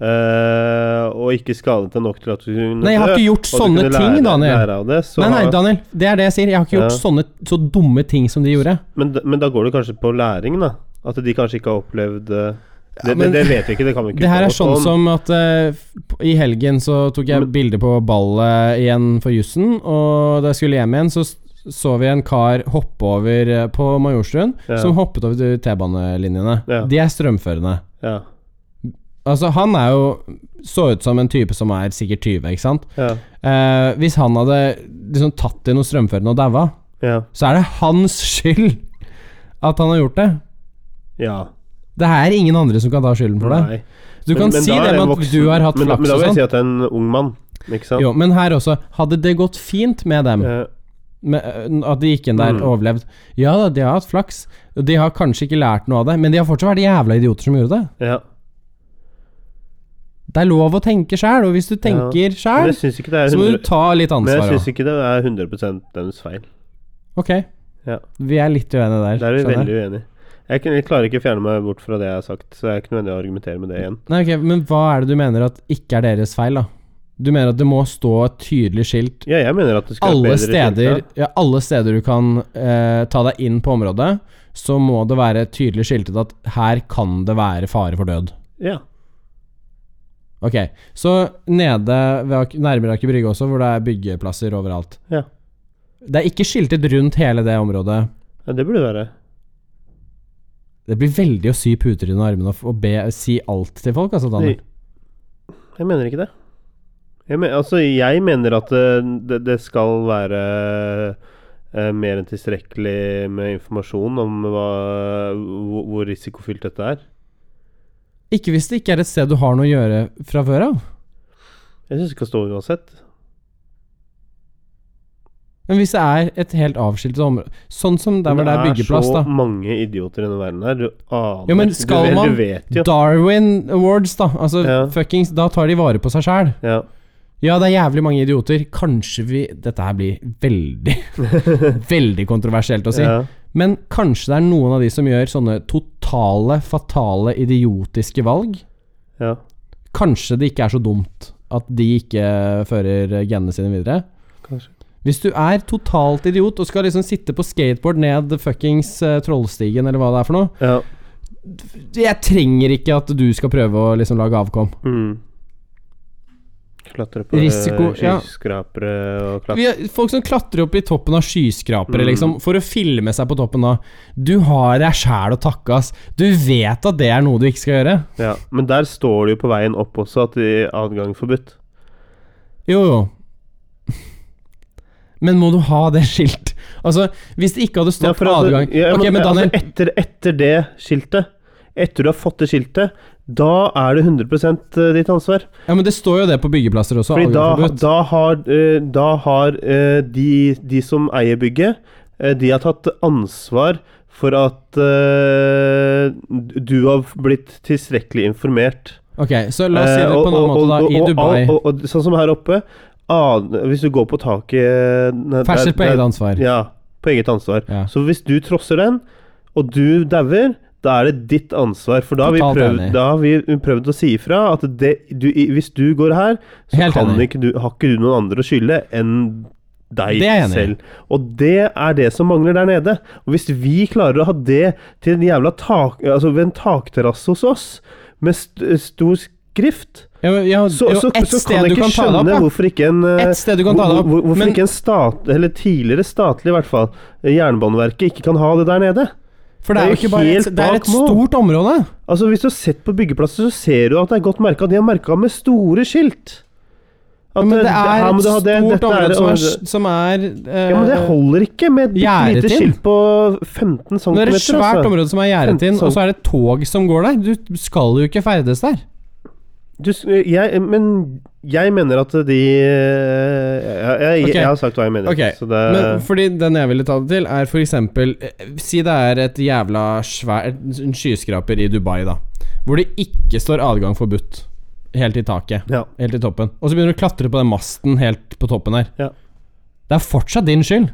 Speaker 2: eh, og ikke skadet deg nok til at du kunne
Speaker 1: Nei, jeg har
Speaker 2: dø,
Speaker 1: ikke gjort
Speaker 2: og du
Speaker 1: sånne
Speaker 2: kunne
Speaker 1: ting,
Speaker 2: lære,
Speaker 1: Daniel.
Speaker 2: Lære av det, så
Speaker 1: Nei, nei,
Speaker 2: har-
Speaker 1: Daniel, det er det jeg sier. Jeg har ikke gjort
Speaker 2: Ja.
Speaker 1: sånne så dumme ting som de gjorde.
Speaker 2: men, d- men da går det kanskje på læring, da. At de kanskje ikke har opplevd eh, det,
Speaker 1: Ja, men-
Speaker 2: det, det vet vi ikke, det kan vi
Speaker 1: (laughs)
Speaker 2: ikke
Speaker 1: Det her er
Speaker 2: uttale oss
Speaker 1: sånn
Speaker 2: om.
Speaker 1: som at eh, f- i helgen så tok jeg
Speaker 2: Men-
Speaker 1: bilde på ballet igjen for jussen, og da jeg skulle hjem igjen, så s- så vi en kar hoppe over eh, på Majorstuen,
Speaker 2: Ja.
Speaker 1: som hoppet over til T-banelinjene.
Speaker 2: Ja.
Speaker 1: De er strømførende.
Speaker 2: ja,
Speaker 1: Altså, han er jo så ut som en type som er sikkert 20, ikke sant?
Speaker 2: ja,
Speaker 1: Eh, hvis han hadde liksom tatt i noe strømførende og daua,
Speaker 2: ja,
Speaker 1: så er det hans skyld at han har gjort det.
Speaker 2: ja.
Speaker 1: Det er ingen andre som kan ta skylden for det.
Speaker 2: Nei.
Speaker 1: Du kan si
Speaker 2: da er
Speaker 1: det
Speaker 2: en
Speaker 1: med at
Speaker 2: voksen-
Speaker 1: du har hatt
Speaker 2: men, da-
Speaker 1: flaks
Speaker 2: Men da
Speaker 1: og
Speaker 2: vil jeg
Speaker 1: sånn.
Speaker 2: si at det er en ung mann, ikke sant?
Speaker 1: Jo, men her også. Hadde det gått fint med dem,
Speaker 2: Eh,
Speaker 1: med, øh, at de gikk inn der
Speaker 2: Mm.
Speaker 1: og overlevde Ja da, de har hatt flaks. Og De har kanskje ikke lært noe av det, men de har fortsatt vært jævla idioter som gjorde det.
Speaker 2: ja.
Speaker 1: Det er lov å tenke sjæl, og hvis du tenker
Speaker 2: Men
Speaker 1: sjæl,
Speaker 2: jeg syns ikke det er
Speaker 1: så må du
Speaker 2: 100,
Speaker 1: ta litt
Speaker 2: men jeg
Speaker 1: ansvar
Speaker 2: synes
Speaker 1: òg.
Speaker 2: ikke det er 100 deres feil.
Speaker 1: Ok.
Speaker 2: Ja.
Speaker 1: Vi er litt uenige der.
Speaker 2: Der er vi
Speaker 1: skjønner jeg.
Speaker 2: veldig uenige. Jeg, kan- jeg klarer ikke å fjerne meg bort fra det jeg har sagt, så det er ikke nødvendig å argumentere med det igjen.
Speaker 1: Nei, ok, Men hva er det du mener at ikke er deres feil, da? Du mener at det må stå et tydelig skilt
Speaker 2: Ja, jeg mener at det skal være
Speaker 1: alle
Speaker 2: bedre
Speaker 1: steder,
Speaker 2: skilt,
Speaker 1: ja, alle steder du kan eh, ta deg inn på området, så må det være tydelig skiltet at her kan det være fare for død.
Speaker 2: Ja.
Speaker 1: Ok, så nede ved, Ak- nærmere Aker Brygge også, hvor det er byggeplasser overalt.
Speaker 2: Ja.
Speaker 1: Det er ikke skiltet rundt hele det området.
Speaker 2: ja, det burde være.
Speaker 1: Det blir veldig å sy puter under armene og, f- og be, si alt til folk, altså, Daniel.
Speaker 2: Jeg mener ikke det. Jeg men, altså, jeg mener at eh, det, det skal være eh, mer enn tilstrekkelig med informasjon om hva, hvor, hvor risikofylt dette er.
Speaker 1: Ikke hvis det ikke er et sted du har noe å gjøre fra før av.
Speaker 2: Jeg syns det skal stå uansett.
Speaker 1: Men hvis det er et helt avskiltet område Sånn som der hvor det er byggeplass,
Speaker 2: Det
Speaker 1: da.
Speaker 2: er så mange idioter i denne verden her. Du aner
Speaker 1: Jo, men
Speaker 2: ikke.
Speaker 1: skal
Speaker 2: du, vet-
Speaker 1: man
Speaker 2: Du vet jo.
Speaker 1: Darwin Awards, da. Altså,
Speaker 2: Ja.
Speaker 1: fuckings Da tar de vare på seg sjæl.
Speaker 2: Ja.
Speaker 1: Ja, det er jævlig mange idioter. Kanskje vi Dette her blir veldig, veldig (laughs) kontroversielt å si.
Speaker 2: ja.
Speaker 1: Men kanskje det er noen av de som gjør sånne totale, fatale, idiotiske valg.
Speaker 2: ja.
Speaker 1: Kanskje det ikke er så dumt at de ikke fører genene sine videre.
Speaker 2: Kanskje.
Speaker 1: Hvis du er totalt idiot og skal liksom sitte på skateboard ned fuckings eh, Trollstigen eller hva det er for noe
Speaker 2: ja.
Speaker 1: Jeg trenger ikke at du skal prøve å liksom lage avkom.
Speaker 2: Mm. Klatre på eh,
Speaker 1: Risiko- ja.
Speaker 2: skyskrapere og klatre
Speaker 1: Vi har folk som klatrer opp i toppen av skyskrapere,
Speaker 2: Mm.
Speaker 1: liksom, for å filme seg på toppen da. Du har deg sjæl å takke, ass. Du vet at det er noe du ikke skal gjøre.
Speaker 2: ja. Men der står det jo på veien opp også at de adgang forbudt.
Speaker 1: Jo, jo. Men må du ha det skilt? Altså, hvis det ikke hadde stått
Speaker 2: for altså-
Speaker 1: adgang
Speaker 2: ja,
Speaker 1: Ok, men Daniel,
Speaker 2: altså etter, etter det skiltet, etter du har fått det skiltet, da er det 100 ditt ansvar.
Speaker 1: ja, men det står jo det på byggeplasser også.
Speaker 2: Fordi da,
Speaker 1: adgangsforbud.
Speaker 2: da har, eh, da har eh, de, de som eier bygget, eh, de har tatt ansvar for at eh, du har blitt tilstrekkelig informert.
Speaker 1: Ok, så la oss si det
Speaker 2: Eh,
Speaker 1: på en annen måte, da. I
Speaker 2: og-
Speaker 1: Dubai.
Speaker 2: Og, og, og, sånn som her oppe an, Hvis du går på taket nei,
Speaker 1: Ferdsel på
Speaker 2: der-
Speaker 1: eget
Speaker 2: der-
Speaker 1: ansvar.
Speaker 2: Ja, på eget ansvar.
Speaker 1: Ja.
Speaker 2: Så hvis du trosser den, og du dauer, da er det ditt ansvar. For da har vi
Speaker 1: Totalt
Speaker 2: prøvd,
Speaker 1: enig.
Speaker 2: da har vi prøvd å si ifra at det, du, i- hvis du går her, så
Speaker 1: Helt
Speaker 2: kan
Speaker 1: enig.
Speaker 2: ikke du, har ikke du noen andre å skylde enn deg
Speaker 1: Det er jeg enig i.
Speaker 2: selv. Og det er det som mangler der nede. Og hvis vi klarer å ha det til en jævla tak, altså ved en takterrasse hos oss, med st stor skrift
Speaker 1: Ja, men, ja,
Speaker 2: så,
Speaker 1: jo,
Speaker 2: så,
Speaker 1: ett
Speaker 2: så kan
Speaker 1: sted
Speaker 2: jeg
Speaker 1: du
Speaker 2: ikke
Speaker 1: kan ta det
Speaker 2: skjønne
Speaker 1: opp,
Speaker 2: hvorfor ikke en
Speaker 1: da.
Speaker 2: eh,
Speaker 1: Ett sted du kan ta det
Speaker 2: hvor-
Speaker 1: opp.
Speaker 2: hvor- Hvorfor
Speaker 1: men-
Speaker 2: ikke en stat, eller tidligere statlig i hvert fall, eh, Jernbaneverket ikke kan ha det der nede?
Speaker 1: For det er jo ikke bare
Speaker 2: helt
Speaker 1: et, Det er
Speaker 2: bak
Speaker 1: et
Speaker 2: mål.
Speaker 1: stort område.
Speaker 2: Altså Hvis du har sett på byggeplasser, så ser du at det er godt merka. De har merka med store skilt. At,
Speaker 1: Men
Speaker 2: eh,
Speaker 1: det er
Speaker 2: her må
Speaker 1: et
Speaker 2: du ha det,
Speaker 1: stort
Speaker 2: dette er
Speaker 1: område
Speaker 2: det,
Speaker 1: som
Speaker 2: og-
Speaker 1: er, som er eh,
Speaker 2: ja, men Det holder ikke med et bitte
Speaker 1: Gjerdet
Speaker 2: lite
Speaker 1: inn.
Speaker 2: skilt på altså. 15 cm.
Speaker 1: Det er et svært område som er gjerdet inn, og så er det tog som går der. Du skal jo ikke ferdes der.
Speaker 2: Du, s- jeg, men jeg mener at de eh, Jeg, jeg,
Speaker 1: Ok.
Speaker 2: jeg har sagt hva jeg mener.
Speaker 1: Ok,
Speaker 2: så det,
Speaker 1: Men fordi den jeg ville ta det til, er for eksempel eh, Si det er et jævla svær En skyskraper i Dubai, da. Hvor det ikke står adgang forbudt. Helt i taket.
Speaker 2: ja.
Speaker 1: Helt i toppen. Og så begynner du å klatre på den masten helt på toppen her.
Speaker 2: Ja.
Speaker 1: Det er fortsatt din skyld.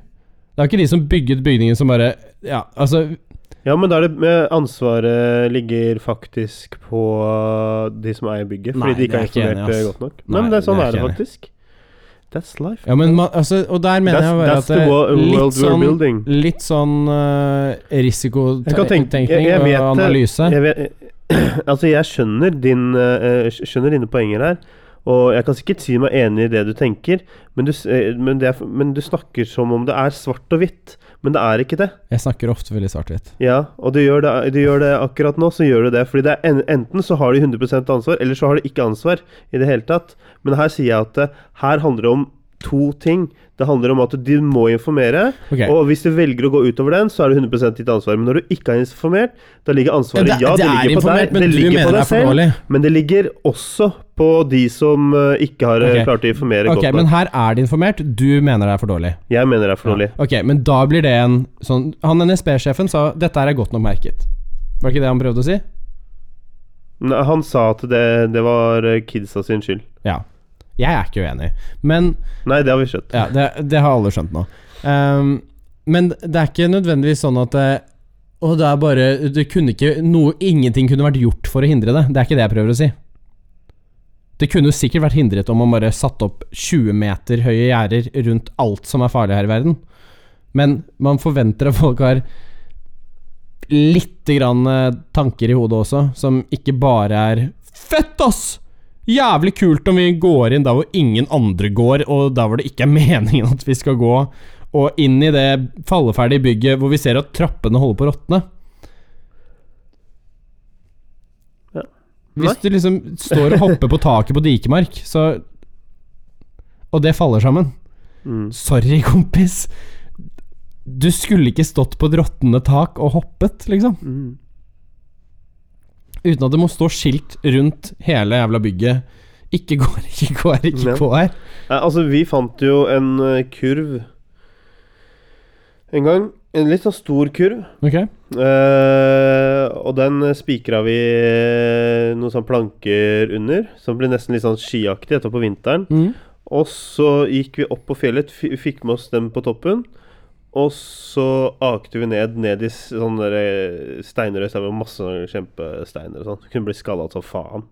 Speaker 1: Det er jo ikke de som bygget bygningen som bare Ja, altså
Speaker 2: ja, men da er det med ansvaret ligger faktisk på eh, de som eier bygget, fordi
Speaker 1: Nei,
Speaker 2: de ikke har
Speaker 1: det er jeg ikke
Speaker 2: informert eh,
Speaker 1: enig i, ass.
Speaker 2: godt nok. Nei,
Speaker 1: Nei,
Speaker 2: men det er sånn
Speaker 1: det er
Speaker 2: er det
Speaker 1: jeg
Speaker 2: faktisk. That's life.
Speaker 1: Ja, men man, altså, Og der mener
Speaker 2: That's-
Speaker 1: jeg bare
Speaker 2: that's
Speaker 1: at det
Speaker 2: the wo-
Speaker 1: er
Speaker 2: world
Speaker 1: litt
Speaker 2: we're
Speaker 1: sånn,
Speaker 2: building.
Speaker 1: litt sånn eh,
Speaker 2: Jeg kan
Speaker 1: risikotenkning
Speaker 2: tenke- jeg- jeg vet
Speaker 1: og
Speaker 2: det.
Speaker 1: analyse.
Speaker 2: Jeg vet, (clears throat) altså, jeg skjønner, din, eh, skj- skjønner dine poenger her. Og jeg kan sikkert si meg enig i det du tenker, men du, s- eh, men, det er, men du snakker som om det er svart og hvitt. Men det er ikke det.
Speaker 1: Jeg snakker ofte veldig svart-hvitt.
Speaker 2: Ja, Og du gjør det, du gjør det akkurat nå, så gjør du det. Fordi det er en, enten så har de 100 ansvar, eller så har de ikke ansvar i det hele tatt. Men her sier jeg at eh, her handler det om to ting. Det handler om at de må informere.
Speaker 1: Ok.
Speaker 2: Og hvis du velger å gå utover den, så er det 100 ditt ansvar. Men når du ikke er informert, da ligger ansvaret
Speaker 1: Ja,
Speaker 2: ja,
Speaker 1: det- det
Speaker 2: det,
Speaker 1: er
Speaker 2: ligger på
Speaker 1: informert,
Speaker 2: deg,
Speaker 1: men
Speaker 2: det
Speaker 1: du
Speaker 2: ligger
Speaker 1: mener det
Speaker 2: på
Speaker 1: er
Speaker 2: deg
Speaker 1: for
Speaker 2: selv,
Speaker 1: dårlig.
Speaker 2: men det ligger også på de som eh, ikke har eh,
Speaker 1: Ok.
Speaker 2: klart å informere
Speaker 1: Ok,
Speaker 2: godt
Speaker 1: men
Speaker 2: nok.
Speaker 1: her er det informert. Du mener det er for dårlig.
Speaker 2: Jeg mener det er for dårlig.
Speaker 1: Ok, men da blir det en sånn Han NSB-sjefen sa dette her er godt nok merket. Var ikke det han prøvde å si?
Speaker 2: Nei, Han sa at det, det var eh, kidsa sin skyld.
Speaker 1: Ja. Jeg er ikke uenig, men
Speaker 2: Nei, det har vi skjønt.
Speaker 1: ja, det, det har alle skjønt nå. Ehm, men det er ikke nødvendigvis sånn at det, Og det er bare det kunne ikke, noe, Ingenting kunne vært gjort for å hindre det. Det er ikke det jeg prøver å si. Det kunne jo sikkert vært hindret om man bare satte opp 20 meter høye gjerder rundt alt som er farlig her i verden. Men man forventer at folk har litt grann eh, tanker i hodet også, som ikke bare er Fett, ass! Jævlig kult om vi går inn der hvor ingen andre går, og der hvor det ikke er (laughs) meningen at vi skal gå, og inn i det falleferdige bygget hvor vi ser at trappene holder på å råtne.
Speaker 2: Ja.
Speaker 1: Hvis du liksom står og hopper på taket på dikemark, så Og det faller sammen.
Speaker 2: Mm.
Speaker 1: Sorry, kompis. Du skulle ikke stått på et råtnende tak og hoppet, liksom.
Speaker 2: Mm.
Speaker 1: Uten at det må stå skilt rundt hele jævla bygget. Ikke gå her, (laughs) ikke gå her, ikke
Speaker 2: Ja.
Speaker 1: gå her.
Speaker 2: Nei, altså, vi fant jo en eh, kurv en gang. En litt sånn stor kurv.
Speaker 1: Ok.
Speaker 2: Eh, og den spikra vi eh, noen sånne planker under, som ble nesten litt sånn skiaktig etterpå på vinteren.
Speaker 1: Mm.
Speaker 2: Og så gikk vi opp på fjellet, fi- fikk med oss dem på toppen. Og så akte vi ned ned i s- sånne der eh, steinrøys der med masse sånne kjempesteiner og sånn. Så Kunne bli skalla som faen.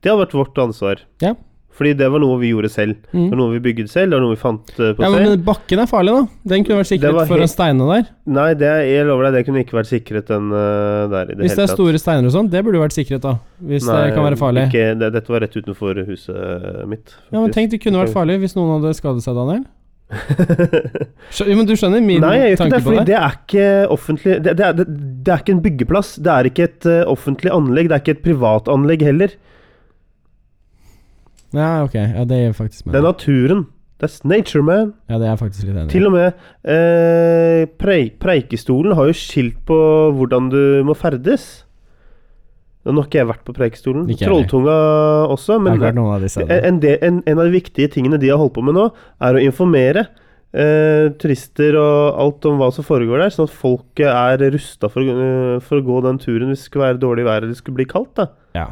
Speaker 2: Det hadde vært vårt ansvar.
Speaker 1: Ja.
Speaker 2: Fordi det var noe vi gjorde selv. Det
Speaker 1: Mm.
Speaker 2: var noe vi bygde selv, det var noe vi fant eh, på
Speaker 1: Ja,
Speaker 2: selv.
Speaker 1: men bakken er farlig, da. Den kunne vært
Speaker 2: Det
Speaker 1: sikret
Speaker 2: var
Speaker 1: foran
Speaker 2: helt-
Speaker 1: steinene der.
Speaker 2: Nei, det, jeg lover deg, det kunne ikke vært sikret den eh, der i det
Speaker 1: Hvis det
Speaker 2: hele
Speaker 1: er
Speaker 2: tatt.
Speaker 1: store steiner og sånn, det burde jo vært sikret, da. Hvis det kan være farlig.
Speaker 2: Ikke, det, dette var rett utenfor huset eh, mitt.
Speaker 1: Ja, men
Speaker 2: (laughs)
Speaker 1: tenk, det kunne vært farlig hvis noen hadde skadet seg, Daniel. Skjø- Jo, men du skjønner min
Speaker 2: Nei, jeg gjør ikke
Speaker 1: tanke
Speaker 2: det,
Speaker 1: på
Speaker 2: fordi
Speaker 1: det?
Speaker 2: det er ikke offentlig det, det, er, det, det er ikke en byggeplass. Det er ikke et eh, offentlig anlegg. Det er ikke et privat anlegg heller.
Speaker 1: Ja, ok. Ja, det gir faktisk
Speaker 2: Det er
Speaker 1: mening.
Speaker 2: naturen. That's nature, man.
Speaker 1: Ja, det er jeg faktisk litt enig i.
Speaker 2: Til og med eh, preik, Preikestolen har jo skilt på hvordan du må ferdes. Nå har ikke jeg vært på Preikestolen.
Speaker 1: Ikke jeg heller.
Speaker 2: Trolltunga også,
Speaker 1: Det har
Speaker 2: men
Speaker 1: ikke vært noen av disse.
Speaker 2: En, en, del, en, en av de viktige tingene de har holdt på med nå, er å informere eh, turister og alt om hva som foregår der, sånn at folk er rusta for, å- eh, for å gå den turen hvis det skulle være dårlig vær eller det skulle bli kaldt. da.
Speaker 1: Ja.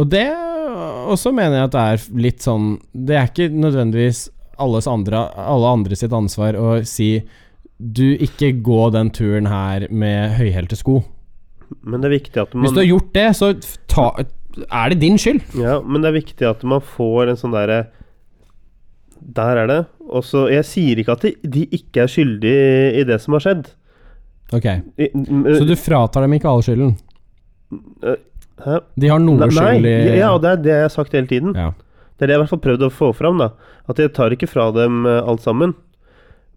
Speaker 1: Og det også mener jeg at det er litt sånn Det er ikke nødvendigvis alles andre, alle andre sitt ansvar å si du, ikke gå den turen her med høyhælte sko.
Speaker 2: Men det er viktig at
Speaker 1: Hvis
Speaker 2: man,
Speaker 1: du har gjort det, så ta, er det din skyld.
Speaker 2: ja, men det er viktig at man får en sånn derre Der er det. Og så, Jeg sier ikke at de, de ikke er skyldige i det som har skjedd.
Speaker 1: Ok,
Speaker 2: I,
Speaker 1: Så du fratar dem ikke all skylden?
Speaker 2: Hæ?
Speaker 1: De har noe
Speaker 2: Nei,
Speaker 1: skyld i
Speaker 2: ja, og det er det jeg har sagt hele tiden.
Speaker 1: ja.
Speaker 2: Det er det jeg i hvert fall prøvde å få fram. da At jeg tar ikke fra dem eh, alt sammen.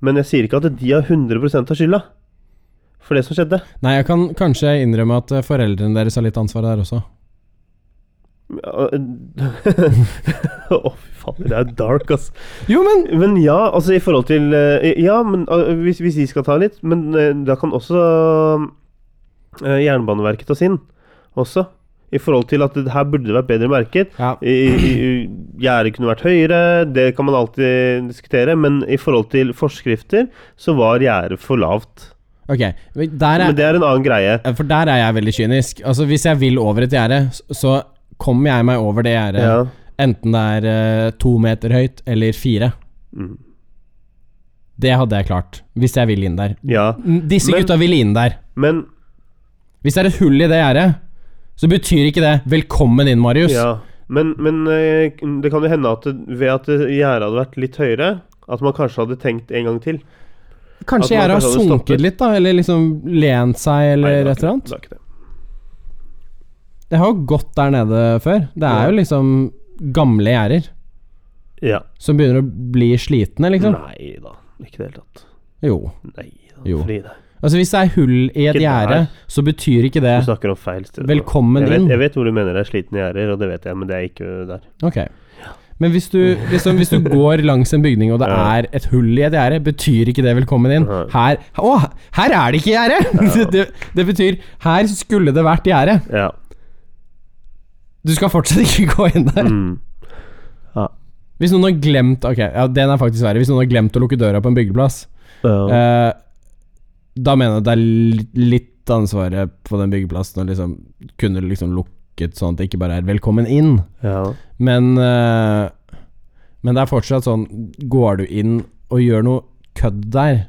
Speaker 2: Men jeg sier ikke at de har 100 av skylda for det som skjedde.
Speaker 1: Nei, jeg kan kanskje innrømme at eh, foreldrene deres har litt ansvar der også.
Speaker 2: Ja, eh, (laughs) Å, fy faen. Det er dark, ass.
Speaker 1: Jo, men
Speaker 2: Men ja, altså i forhold til eh, Ja, men eh, hvis, hvis de skal ta litt Men eh, da kan også eh, Jernbaneverket ta sin også. I forhold til at det her burde det vært bedre merket.
Speaker 1: Ja.
Speaker 2: I- i- i- Gjerdet kunne vært høyere, det kan man alltid diskutere, men i forhold til forskrifter så var gjerdet for lavt.
Speaker 1: Ok, men der
Speaker 2: Men
Speaker 1: er, eh,
Speaker 2: det er en annen greie.
Speaker 1: For der er jeg veldig kynisk. Altså Hvis jeg vil over et gjerde, s- så kommer jeg meg over det gjerdet.
Speaker 2: Ja.
Speaker 1: Enten det er eh, to meter høyt eller fire.
Speaker 2: Mm.
Speaker 1: Det hadde jeg klart, hvis jeg vil inn der.
Speaker 2: ja.
Speaker 1: N- Disse
Speaker 2: Men-
Speaker 1: gutta vil inn der.
Speaker 2: Men
Speaker 1: Hvis det er et hull i det gjerdet, så betyr ikke det 'velkommen inn, Marius'.
Speaker 2: Ja, men, men eh, det kan jo hende at det- ved at gjerdet hadde vært litt høyere, at man kanskje hadde tenkt en gang til.
Speaker 1: Kanskje gjerdet har
Speaker 2: At man kanskje hadde
Speaker 1: sunket
Speaker 2: stoppet.
Speaker 1: litt, da? Eller liksom lent seg, eller
Speaker 2: Nei, det
Speaker 1: et
Speaker 2: var
Speaker 1: eller
Speaker 2: ikke-
Speaker 1: annet?
Speaker 2: Det var ikke det.
Speaker 1: Det har jo gått der nede før. Det er
Speaker 2: Ja.
Speaker 1: jo liksom gamle gjerder
Speaker 2: Ja.
Speaker 1: som begynner å bli slitne, liksom.
Speaker 2: Nei da, ikke i det hele tatt.
Speaker 1: Jo.
Speaker 2: Nei da,
Speaker 1: Jo.
Speaker 2: Frida.
Speaker 1: Altså, hvis det er hull i et
Speaker 2: Ikke
Speaker 1: gjerde,
Speaker 2: der.
Speaker 1: så betyr ikke det
Speaker 2: Du snakker om feil sted. nå.
Speaker 1: Velkommen
Speaker 2: jeg vet,
Speaker 1: inn.
Speaker 2: Jeg vet hvor du mener det er slitne gjerder, og det vet jeg, men det er ikke der.
Speaker 1: Ok. Men hvis du, liksom, hvis du går langs en bygning og det
Speaker 2: (laughs) Ja.
Speaker 1: er et hull i et gjerde, betyr ikke det 'velkommen inn'?
Speaker 2: Nei.
Speaker 1: Her Å, her er det ikke gjerde! Det, (laughs) det, det betyr 'her skulle det vært gjerde'.
Speaker 2: Ja.
Speaker 1: Du skal fortsatt (laughs) ikke gå inn der.
Speaker 2: Mm. ja.
Speaker 1: Hvis noen har glemt Ok, ja, den er faktisk verre. Hvis noen har glemt å lukke døra på en byggeplass,
Speaker 2: Ja.
Speaker 1: eh, da mener jeg at det er li- litt ansvaret på den byggeplassen å liksom kunne liksom lukket sånn at det ikke bare er 'velkommen inn'.
Speaker 2: ja.
Speaker 1: Men eh, Men det er fortsatt sånn Går du inn og gjør noe kødd der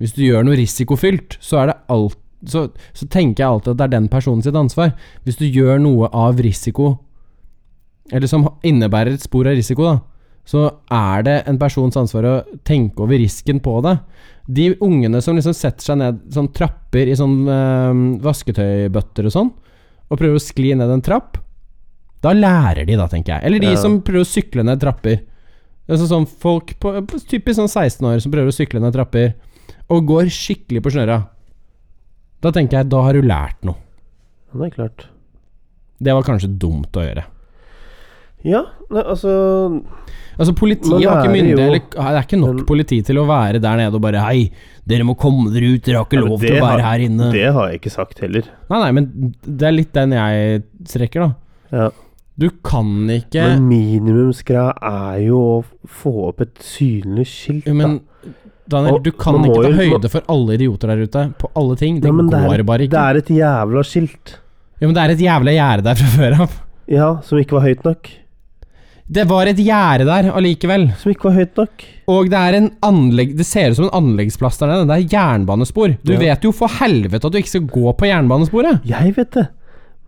Speaker 1: Hvis du gjør noe risikofylt Så er det alt så, så tenker jeg alltid at det er den personen sitt ansvar Hvis du gjør noe av risiko Eller som innebærer et spor av risiko da Så er det en persons ansvar Å tenke over risken på det De ungene som liksom setter seg ned Sånn trapper i sånn eh, Vasketøybøtter og sånn Og prøver å skli ned en trapp da lærer de, da, tenker jeg. Eller de
Speaker 2: Ja.
Speaker 1: som prøver å sykle ned trapper. Altså sånn Folk på, på typisk sånn 16 år som prøver å sykle ned trapper, og går skikkelig på snøra. Da tenker jeg da har du lært noe.
Speaker 2: Det er klart.
Speaker 1: Det var kanskje dumt å gjøre.
Speaker 2: Ja, nei, altså
Speaker 1: Altså Politiet
Speaker 2: Men
Speaker 1: har ikke
Speaker 2: det er
Speaker 1: myndighet
Speaker 2: jo-
Speaker 1: eller, Det er ikke nok
Speaker 2: Men-
Speaker 1: politi til å være der nede og bare Hei, dere må komme dere ut, dere har ikke
Speaker 2: Ja, men
Speaker 1: lov til å
Speaker 2: det
Speaker 1: være
Speaker 2: har-
Speaker 1: her inne.
Speaker 2: Det har jeg ikke sagt heller.
Speaker 1: Nei, nei, men det er litt den jeg strekker, da.
Speaker 2: Ja.
Speaker 1: Du kan ikke
Speaker 2: Men minimumsgreia er jo å få opp et synlig skilt.
Speaker 1: Jo, Men Daniel,
Speaker 2: Og
Speaker 1: du kan
Speaker 2: man må
Speaker 1: ikke ta
Speaker 2: jo-
Speaker 1: høyde for alle idioter der ute på alle ting. Det
Speaker 2: Nei, men
Speaker 1: går
Speaker 2: er,
Speaker 1: bare
Speaker 2: Det
Speaker 1: ikke.
Speaker 2: er et jævla skilt.
Speaker 1: Jo, men det er et jævla gjerde der fra før av.
Speaker 2: Ja, som ikke var høyt nok.
Speaker 1: Det var et gjerde der allikevel.
Speaker 2: Som ikke var høyt nok.
Speaker 1: Og det er en anlegg Det ser ut som en anleggsplass der nede. Det er jernbanespor. Du
Speaker 2: Ja.
Speaker 1: vet jo for helvete at du ikke skal gå på jernbanesporet.
Speaker 2: Jeg vet det.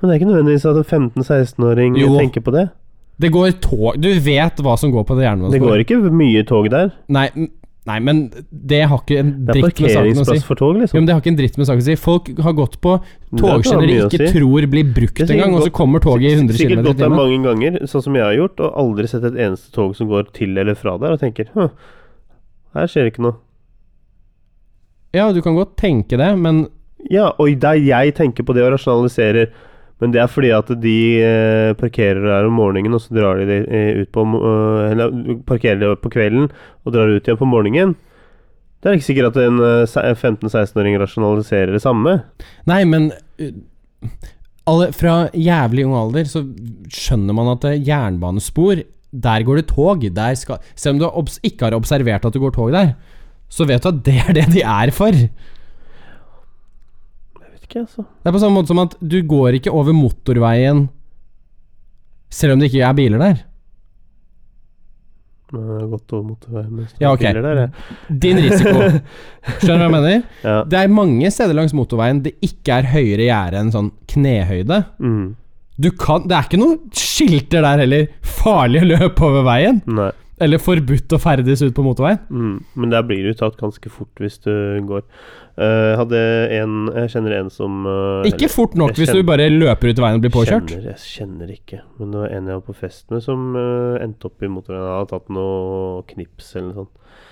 Speaker 2: Men det er ikke nødvendigvis at en 15-16-åring
Speaker 1: Jo.
Speaker 2: tenker på det.
Speaker 1: Det går tog Du vet hva som går på det
Speaker 2: Det
Speaker 1: jernbanesporet.
Speaker 2: går ikke mye tog der.
Speaker 1: Nei, m- nei, men det har ikke en
Speaker 2: Det er
Speaker 1: dritt med saken å si.
Speaker 2: parkeringsplass for tog,
Speaker 1: Jo,
Speaker 2: liksom.
Speaker 1: men Det har ikke en dritt med saken å si. Folk har gått på
Speaker 2: det har
Speaker 1: togskinner de
Speaker 2: mye å
Speaker 1: ikke
Speaker 2: si.
Speaker 1: tror blir brukt
Speaker 2: Det er
Speaker 1: engang, og så
Speaker 2: sikkert
Speaker 1: kommer toget i 100 km
Speaker 2: Sikkert
Speaker 1: i
Speaker 2: gått der
Speaker 1: timen.
Speaker 2: mange ganger, sånn som jeg har gjort, og aldri sett et eneste tog som går til eller fra der, og tenker Hm, her skjer det ikke noe.
Speaker 1: Ja, du kan godt tenke det, men
Speaker 2: Ja, og der jeg tenker på det og rasjonaliserer Men det er fordi at de eh, parkerer der om morgenen, og så drar de det, eh, ut på mo- eh, Eller parkerer de på kvelden og drar ut igjen på morgenen. Det er ikke sikkert at en eh, se- 15-16-åring rasjonaliserer det samme.
Speaker 1: Nei, men uh, alle, fra jævlig ung alder så skjønner man at det er jernbanespor, der går det tog. Der skal, selv om du har obs ikke har observert at det går tog der, så vet du at det er det de er for. Det
Speaker 2: Jeg vet ikke, altså.
Speaker 1: er på samme måte som at du går ikke over motorveien selv om det ikke er biler der.
Speaker 2: Men jeg har gått over motorveien med
Speaker 1: Ja, ok.
Speaker 2: biler der, jeg.
Speaker 1: Din risiko.
Speaker 2: (laughs)
Speaker 1: Skjønner du hva jeg mener?
Speaker 2: Ja.
Speaker 1: Det er mange steder langs motorveien det ikke er høyere gjerde enn sånn knehøyde.
Speaker 2: Mm.
Speaker 1: Du kan, det er ikke noen skilter der heller. Farlig å løpe over veien.
Speaker 2: Nei.
Speaker 1: Eller forbudt å ferdes ut på motorveien.
Speaker 2: Mm, men der blir du tatt ganske fort hvis du går. Eh, hadde en Jeg kjenner en som eh,
Speaker 1: Ikke fort nok
Speaker 2: jeg
Speaker 1: hvis du bare løper ut i veien og blir påkjørt.
Speaker 2: Kjenner, jeg kjenner ikke. Men det var en jeg var på fest med som eh, endte opp i motorveien. Han hadde tatt noe knips eller noe sånt.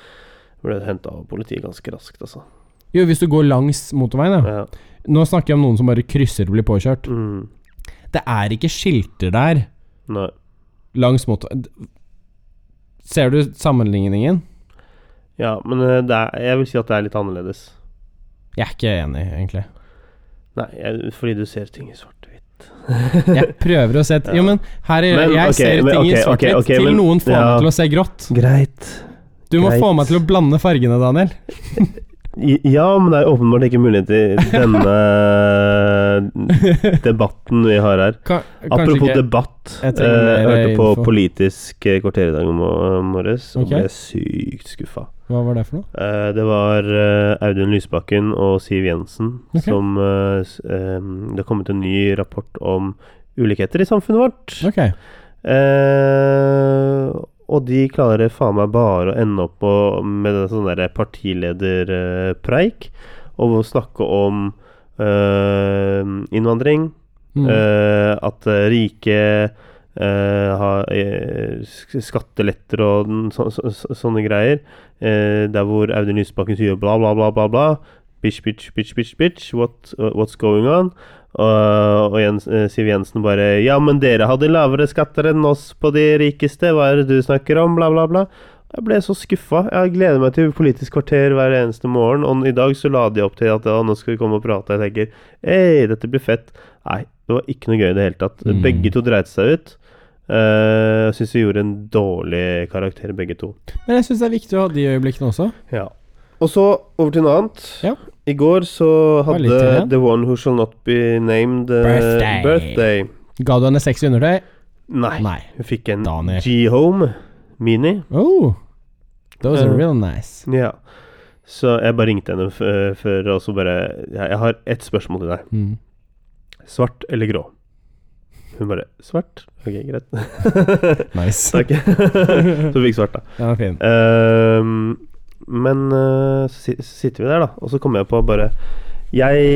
Speaker 2: Ble henta av politiet ganske raskt, altså.
Speaker 1: Jo, hvis du går langs motorveien, ja.
Speaker 2: Ja.
Speaker 1: Nå snakker jeg om noen som bare krysser og blir påkjørt.
Speaker 2: Mm,
Speaker 1: Det er ikke skilter der
Speaker 2: nei.
Speaker 1: langs motorveien. Ser du sammenligningen?
Speaker 2: Ja, men eh, det er, jeg vil si at det er litt annerledes.
Speaker 1: Jeg er ikke enig, egentlig.
Speaker 2: Nei, jeg, fordi du ser ting i svart-hvitt. svart-hvitt.
Speaker 1: Jeg prøver å se Jo, men her er
Speaker 2: Men,
Speaker 1: Jeg
Speaker 2: ok,
Speaker 1: ser
Speaker 2: men,
Speaker 1: ting
Speaker 2: ok,
Speaker 1: i svart-hvitt
Speaker 2: ok, ok,
Speaker 1: til
Speaker 2: men-
Speaker 1: noen får
Speaker 2: ja.
Speaker 1: meg til å se grått.
Speaker 2: Greit.
Speaker 1: Du må
Speaker 2: Greit.
Speaker 1: få meg til å blande fargene, Daniel.
Speaker 2: I- Ja, men det er åpenbart ikke mulighet i
Speaker 1: (laughs)
Speaker 2: denne (laughs) debatten vi har her.
Speaker 1: Ka kanskje
Speaker 2: Apropos
Speaker 1: ikke
Speaker 2: debatt.
Speaker 1: Jeg
Speaker 2: eh, Jeg
Speaker 1: trenger mer
Speaker 2: hørte på
Speaker 1: info.
Speaker 2: Politisk eh, kvarter i dag mor- morges og
Speaker 1: Ok.
Speaker 2: ble sykt skuffa.
Speaker 1: Hva var det for noe?
Speaker 2: Eh, Det var eh, Audun Lysbakken og Siv Jensen
Speaker 1: Ok.
Speaker 2: som eh, s- eh, Det har kommet en ny rapport om ulikheter i samfunnet vårt.
Speaker 1: Ok.
Speaker 2: Eh, og de klarer faen meg bare å ende opp på, med en sånn der partilederpreik eh, og å snakke om eh, innvandring.
Speaker 1: Mm.
Speaker 2: eh, at eh, rike eh, har eh, sk- skatteletter og den, så, så, så, sånne greier. Eh, der hvor Audun Lysbakken sier bla, bla, bla, bla, bla. Bitch, bitch, bitch, bitch, bitch. What, uh, what's going on? Og, og Jens, eh, Siv Jensen bare Ja, men dere hadde lavere skatter enn oss på de rikeste. Hva er det du snakker om? Bla, bla, bla. Jeg ble så skuffa. Jeg gleder meg til Politisk kvarter hver eneste morgen. Og i dag så la de opp til at ja, nå skal vi komme og prate. Jeg tenker Hei, dette blir fett. Nei, det var ikke noe gøy i det hele tatt.
Speaker 1: Mm.
Speaker 2: Begge to dreit seg ut. Eh, Jeg Syns vi gjorde en dårlig karakter, begge to.
Speaker 1: Men jeg syns det er viktig å ha de øyeblikkene også.
Speaker 2: Ja. Og så over til noe annet.
Speaker 1: Ja.
Speaker 2: I går så
Speaker 1: var litt
Speaker 2: hadde
Speaker 1: til det.
Speaker 2: The One Who Shall Not Be Named eh,
Speaker 1: Birthday.
Speaker 2: birthday.
Speaker 1: Ga du henne sexy undertøy?
Speaker 2: Nei.
Speaker 1: Nei.
Speaker 2: Hun fikk en
Speaker 1: Daniel.
Speaker 2: G-Home Mini.
Speaker 1: Oh, those are
Speaker 2: Eh.
Speaker 1: real nice.
Speaker 2: Ja. Så jeg bare ringte henne f- eh, før og så bare Jeg jeg har ett spørsmål til deg.
Speaker 1: Mm.
Speaker 2: Svart eller grå? Hun bare Svart? Ok, greit. (laughs)
Speaker 1: Nice.
Speaker 2: Takk. (laughs) så vi fikk svart, da.
Speaker 1: Den er fin.
Speaker 2: Ehm, men eh, så si- så sitter vi der, da, og så kommer jeg på bare Jeg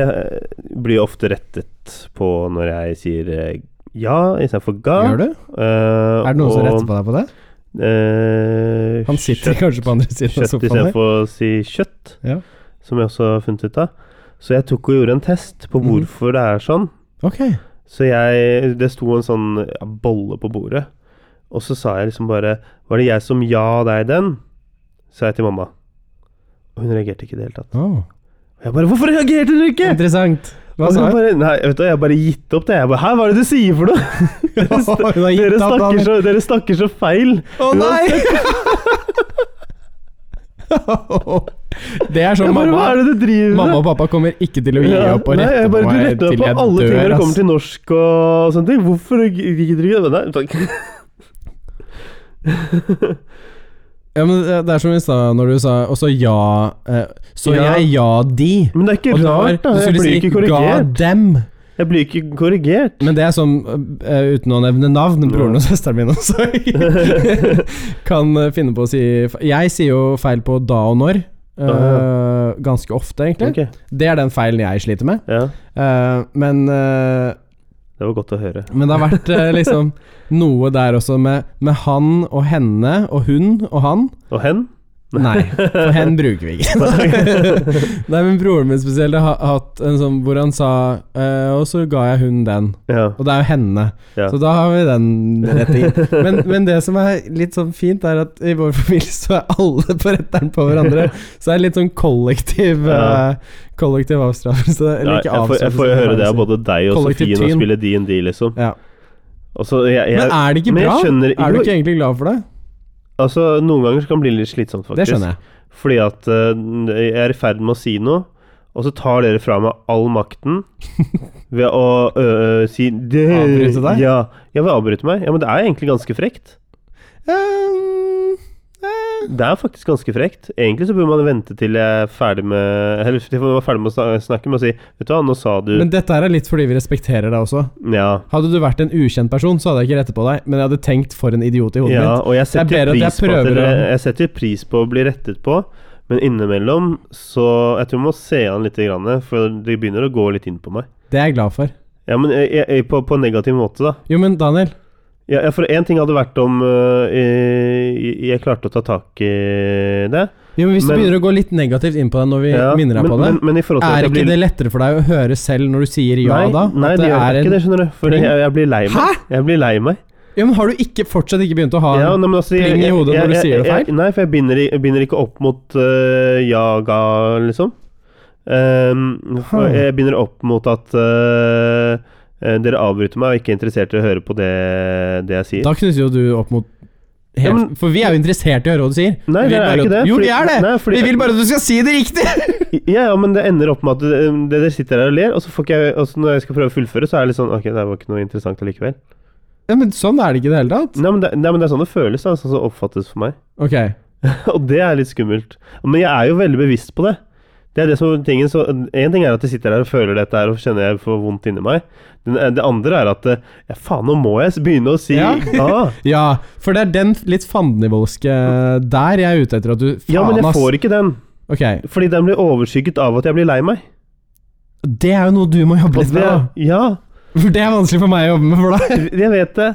Speaker 2: eh, blir ofte rettet på når jeg sier eh, ja istedenfor ga.
Speaker 1: Gjør du?
Speaker 2: Eh,
Speaker 1: Er det noen som retter på deg på det? Han sitter kanskje på andre siden av
Speaker 2: eh, kjøtt
Speaker 1: sofaen der.
Speaker 2: istedenfor å si kjøtt,
Speaker 1: Ja.
Speaker 2: som jeg også har funnet ut av. Så jeg tok og gjorde en test på
Speaker 1: Mhm.
Speaker 2: hvorfor det er sånn.
Speaker 1: Ok.
Speaker 2: Så jeg Det sto en sånn ja, bolle på bordet. Og så sa jeg liksom bare Var det jeg som ja deg den? Sa jeg til mamma. Og hun reagerte ikke i det hele tatt.
Speaker 1: Oh.
Speaker 2: Og jeg bare Hvorfor reagerte du ikke?
Speaker 1: Interessant. Hva
Speaker 2: Og
Speaker 1: sa
Speaker 2: hun
Speaker 1: hun?
Speaker 2: bare, Nei, vet du, jeg har bare gitt opp det. Jeg bare Hæ, hva er det du sier for noe? Dere,
Speaker 1: Hun
Speaker 2: sn-
Speaker 1: har gitt
Speaker 2: dere,
Speaker 1: opp,
Speaker 2: snakker,
Speaker 1: Daniel.
Speaker 2: så, dere snakker så feil.
Speaker 1: Å nei! (laughs) det er sånn
Speaker 2: Jeg bare, hva
Speaker 1: mamma
Speaker 2: er det du driver
Speaker 1: Mamma og pappa kommer ikke til å gi
Speaker 2: Ja,
Speaker 1: opp og
Speaker 2: nei,
Speaker 1: rette
Speaker 2: jeg
Speaker 1: på
Speaker 2: bare, du
Speaker 1: meg
Speaker 2: retter
Speaker 1: til
Speaker 2: meg på
Speaker 1: jeg
Speaker 2: alle ting når
Speaker 1: dør.
Speaker 2: det
Speaker 1: ass.
Speaker 2: kommer til norsk og sånne ting. Hvorfor gidder du ikke det? Nei, takk.
Speaker 1: Ja, men eh, det det er som vi sa når du sa Og så ja eh, Så
Speaker 2: Ja.
Speaker 1: jeg ja de.
Speaker 2: Men det er ikke
Speaker 1: Og det var-
Speaker 2: rart, da.
Speaker 1: du
Speaker 2: Jeg
Speaker 1: skulle
Speaker 2: blir
Speaker 1: si,
Speaker 2: ikke
Speaker 1: Ga
Speaker 2: korrigert.
Speaker 1: dem.
Speaker 2: Jeg blir ikke korrigert.
Speaker 1: Men det er som, eh, uten å nevne navn, broren og søsteren min
Speaker 2: (laughs)
Speaker 1: også kan eh, finne på å si Jeg sier jo feil på da og når. eh, ganske ofte, egentlig.
Speaker 2: Ok,
Speaker 1: Det er den feilen jeg sliter med.
Speaker 2: ja.
Speaker 1: Eh, men eh,
Speaker 2: Det var godt å høre.
Speaker 1: Men det har vært eh, liksom noe der også med, med han og henne og hun og han.
Speaker 2: Og
Speaker 1: (laughs)
Speaker 2: hen?
Speaker 1: Nei, for hen bruker vi ikke. (laughs) Nei, men broren min spesielt har hatt en sånn hvor han sa eh, Og så ga jeg hun den.
Speaker 2: (laughs) Ja.
Speaker 1: Og det er jo henne,
Speaker 2: Ja.
Speaker 1: så da har vi den rett inn. Men, men det som er litt sånn fint, er at i vår familie så er alle på retteren på hverandre. Så det er litt sånn kollektiv
Speaker 2: Ja.
Speaker 1: eh, Kollektiv avstraffelse.
Speaker 2: Ja,
Speaker 1: Eller ikke
Speaker 2: jeg, får, jeg
Speaker 1: avstraffelse,
Speaker 2: får jo
Speaker 1: hva
Speaker 2: høre
Speaker 1: er
Speaker 2: det
Speaker 1: jeg
Speaker 2: av
Speaker 1: sier?
Speaker 2: både deg og
Speaker 1: Kollektiv
Speaker 2: Sofie når
Speaker 1: tyn.
Speaker 2: vi spiller D&D, liksom.
Speaker 1: ja.
Speaker 2: Og så jeg, jeg,
Speaker 1: Men er det ikke
Speaker 2: men jeg
Speaker 1: bra?
Speaker 2: skjønner-
Speaker 1: er du
Speaker 2: jo.
Speaker 1: ikke egentlig glad for det?
Speaker 2: altså, noen ganger så kan det bli litt slitsomt, faktisk.
Speaker 1: Det skjønner jeg.
Speaker 2: Fordi at eh, jeg er i ferd med å si noe, og så tar dere fra meg all makten
Speaker 1: (laughs)
Speaker 2: ved å øh, si det,
Speaker 1: Avbryte deg?
Speaker 2: Ja, jeg vil avbryte meg. Ja, men det er egentlig ganske frekt.
Speaker 1: Ehm, eh,
Speaker 2: Det er faktisk ganske frekt. Egentlig så burde man vente til jeg er ferdig med Eller til man er ferdig med å snak- snakke med å si Vet du hva, nå sa du
Speaker 1: Men dette her er litt fordi vi respekterer deg også.
Speaker 2: Ja.
Speaker 1: Hadde du vært en ukjent person, så hadde jeg ikke rettet på deg, men jeg hadde tenkt for en idiot i hodet
Speaker 2: Ja,
Speaker 1: mitt.
Speaker 2: og jeg setter,
Speaker 1: Det er bedre at jeg
Speaker 2: pris på at
Speaker 1: prøver
Speaker 2: dere,
Speaker 1: å-
Speaker 2: jeg setter pris på å bli rettet på, men innimellom så Jeg tror jeg må se an litt, grann, for det begynner å gå litt inn på meg.
Speaker 1: Det er jeg glad for.
Speaker 2: Ja, men eh, jeg, jeg, jeg, på, på en negativ måte, da.
Speaker 1: Jo, men Daniel,
Speaker 2: Ja, ja, for én ting hadde vært om øh, jeg, jeg klarte å ta tak i det.
Speaker 1: jo, men hvis
Speaker 2: Men-
Speaker 1: du begynner å gå litt negativt inn på det når vi
Speaker 2: Ja,
Speaker 1: minner deg
Speaker 2: men,
Speaker 1: på det,
Speaker 2: Men, men i forhold til at
Speaker 1: er
Speaker 2: jeg
Speaker 1: ikke
Speaker 2: blir-
Speaker 1: det lettere for deg å høre selv når du sier ja
Speaker 2: nei,
Speaker 1: da?
Speaker 2: Nei,
Speaker 1: At
Speaker 2: det, gjør
Speaker 1: er
Speaker 2: ikke det, skjønner du. For jeg, jeg blir lei meg.
Speaker 1: Hæ?
Speaker 2: Jeg blir lei meg.
Speaker 1: Ja, men har du ikke, fortsatt ikke begynt å ha
Speaker 2: Ja, nei, men altså, jeg-
Speaker 1: pling i
Speaker 2: jeg-
Speaker 1: hodet når du
Speaker 2: jeg-
Speaker 1: sier det
Speaker 2: jeg-
Speaker 1: feil?
Speaker 2: Nei, for jeg binder, i- jeg binder ikke opp mot øh, ja, ga, liksom. Ehm, for
Speaker 1: Hmm.
Speaker 2: jeg binder opp mot at øh, Eh, dere avbryter meg og er ikke interessert i å høre på det, det jeg sier.
Speaker 1: Da knytter jo du opp mot helt,
Speaker 2: Ja, men-
Speaker 1: For vi er jo interessert i å høre hva du sier.
Speaker 2: Nei,
Speaker 1: Vi vil
Speaker 2: dere er
Speaker 1: bare-
Speaker 2: ikke det,
Speaker 1: Jo,
Speaker 2: fordi-
Speaker 1: vi er det!
Speaker 2: nei, fordi-
Speaker 1: vi vil bare at du skal si det riktig!
Speaker 2: Ja, ja, men det ender opp med at eh, dere sitter der og ler, og så får ikke jeg og så Når jeg skal prøve å fullføre, så er det litt sånn Ok, det var ikke noe interessant allikevel.
Speaker 1: (laughs) ja, men sånn er det ikke i det hele tatt.
Speaker 2: Nei, men det, nei, men det er sånn det føles, da. Sånn som det oppfattes for meg.
Speaker 1: Ok.
Speaker 2: (laughs) Og det er litt skummelt. Men jeg er jo veldig bevisst på det. Det er det som er tingen, så En ting er at jeg sitter her og føler dette her og kjenner jeg får vondt inni meg. Den, det andre er at eh, ja, faen, nå må jeg s- begynne å si (laughs)
Speaker 1: Ja.
Speaker 2: ah,
Speaker 1: Ja, for det er den litt fandenivoldske der jeg er ute etter at du Faen,
Speaker 2: Ja, men jeg
Speaker 1: ass.
Speaker 2: får ikke den.
Speaker 1: Ok,
Speaker 2: Fordi den blir overskygget av at jeg blir lei meg.
Speaker 1: Det er jo noe du må jobbe
Speaker 2: Og
Speaker 1: litt med,
Speaker 2: Altså,
Speaker 1: da.
Speaker 2: det, ja,
Speaker 1: For det er vanskelig for meg å jobbe med for deg.
Speaker 2: jeg vet det.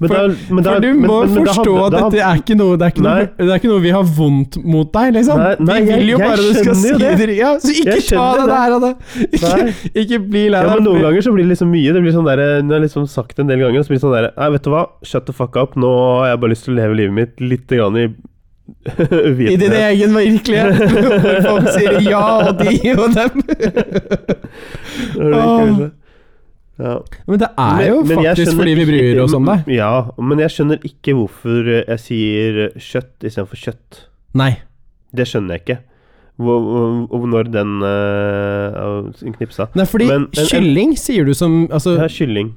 Speaker 2: Men
Speaker 1: For-
Speaker 2: da- men da-
Speaker 1: For du
Speaker 2: men-
Speaker 1: må
Speaker 2: men- men da
Speaker 1: forstå
Speaker 2: handler-
Speaker 1: at
Speaker 2: da
Speaker 1: dette er ikke noe det er ikke noe,
Speaker 2: Nei.
Speaker 1: det er ikke noe vi har vondt mot deg, liksom.
Speaker 2: Nei, nei,
Speaker 1: vi vil jo
Speaker 2: jeg- jeg
Speaker 1: bare du skal
Speaker 2: skjønner
Speaker 1: si
Speaker 2: jo det.
Speaker 1: det. Ja, så ikke
Speaker 2: Jeg
Speaker 1: ta
Speaker 2: skjønner
Speaker 1: det
Speaker 2: det.
Speaker 1: der og det.
Speaker 2: Nei.
Speaker 1: (laughs) Ikke, ikke bli lei
Speaker 2: Ja,
Speaker 1: deg.
Speaker 2: men Noen ganger så blir det liksom mye. Det blir sånn der, Når jeg liksom sagt det en del ganger, så blir det sånn der Nei, vet du hva, shut the fuck up. Nå har jeg bare lyst til å leve livet mitt litt grann i (laughs)
Speaker 1: I din
Speaker 2: vitenhet.
Speaker 1: egen
Speaker 2: (laughs)
Speaker 1: virkelighet, (laughs) hvor folk sier ja og de og dem.
Speaker 2: Hører du ikke, kanskje? Ja.
Speaker 1: Men det er jo
Speaker 2: Men- men jeg
Speaker 1: faktisk
Speaker 2: skjønner
Speaker 1: fordi vi bryr
Speaker 2: ikke-
Speaker 1: oss om deg.
Speaker 2: Ja, men jeg skjønner ikke hvorfor jeg sier kjøtt istedenfor kjøtt.
Speaker 1: Nei.
Speaker 2: Det skjønner jeg ikke. Hvor, hvor- hvor, når den øh, knipsa.
Speaker 1: Nei, fordi
Speaker 2: Men- men-
Speaker 1: kylling sier du som Altså,
Speaker 2: Det er kylling.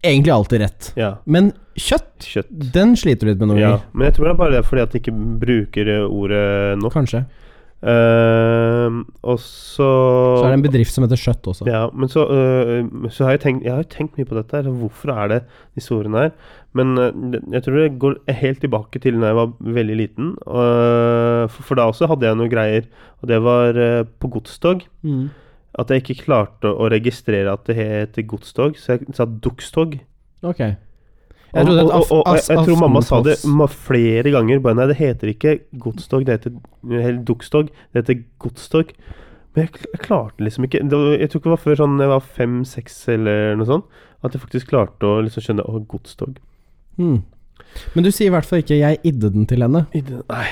Speaker 1: egentlig alltid rett.
Speaker 2: Ja.
Speaker 1: Men kjøtt,
Speaker 2: Kjøtt.
Speaker 1: den sliter du litt med noen
Speaker 2: Ja.
Speaker 1: ganger.
Speaker 2: Men jeg tror det er bare det er fordi at de ikke bruker eh, ordet nok.
Speaker 1: Kanskje.
Speaker 2: Ehm, og så
Speaker 1: Så er det en bedrift som heter Skjøtt også.
Speaker 2: Ja, men så, øh, så har jeg, tenkt, jeg har jo tenkt mye på dette. her Hvorfor er det disse ordene her? Men øh, det- jeg tror det går helt tilbake til da jeg var veldig liten. øh, for, for da også hadde jeg noen greier, og det var øh, på godstog.
Speaker 1: Mm.
Speaker 2: At jeg ikke klarte å, å registrere at det het godstog, så jeg sa dukstog.
Speaker 1: Ok.
Speaker 2: Og,
Speaker 1: Jeg trodde
Speaker 2: og,
Speaker 1: at
Speaker 2: og,
Speaker 1: af-
Speaker 2: og jeg,
Speaker 1: as-
Speaker 2: jeg tror mamma sa det
Speaker 1: aftenpost-
Speaker 2: ma- flere ganger. Bare nei, det heter ikke godstog, det heter eller dukstog. Det heter godstog. Men jeg, kl- jeg klarte liksom ikke det var, Jeg tror ikke det var før sånn jeg var fem-seks eller noe sånt, at jeg faktisk klarte å liksom skjønne Å, godstog.
Speaker 1: Hmm. Men du sier i hvert fall ikke 'jeg idde den til henne',
Speaker 2: I det- Nei,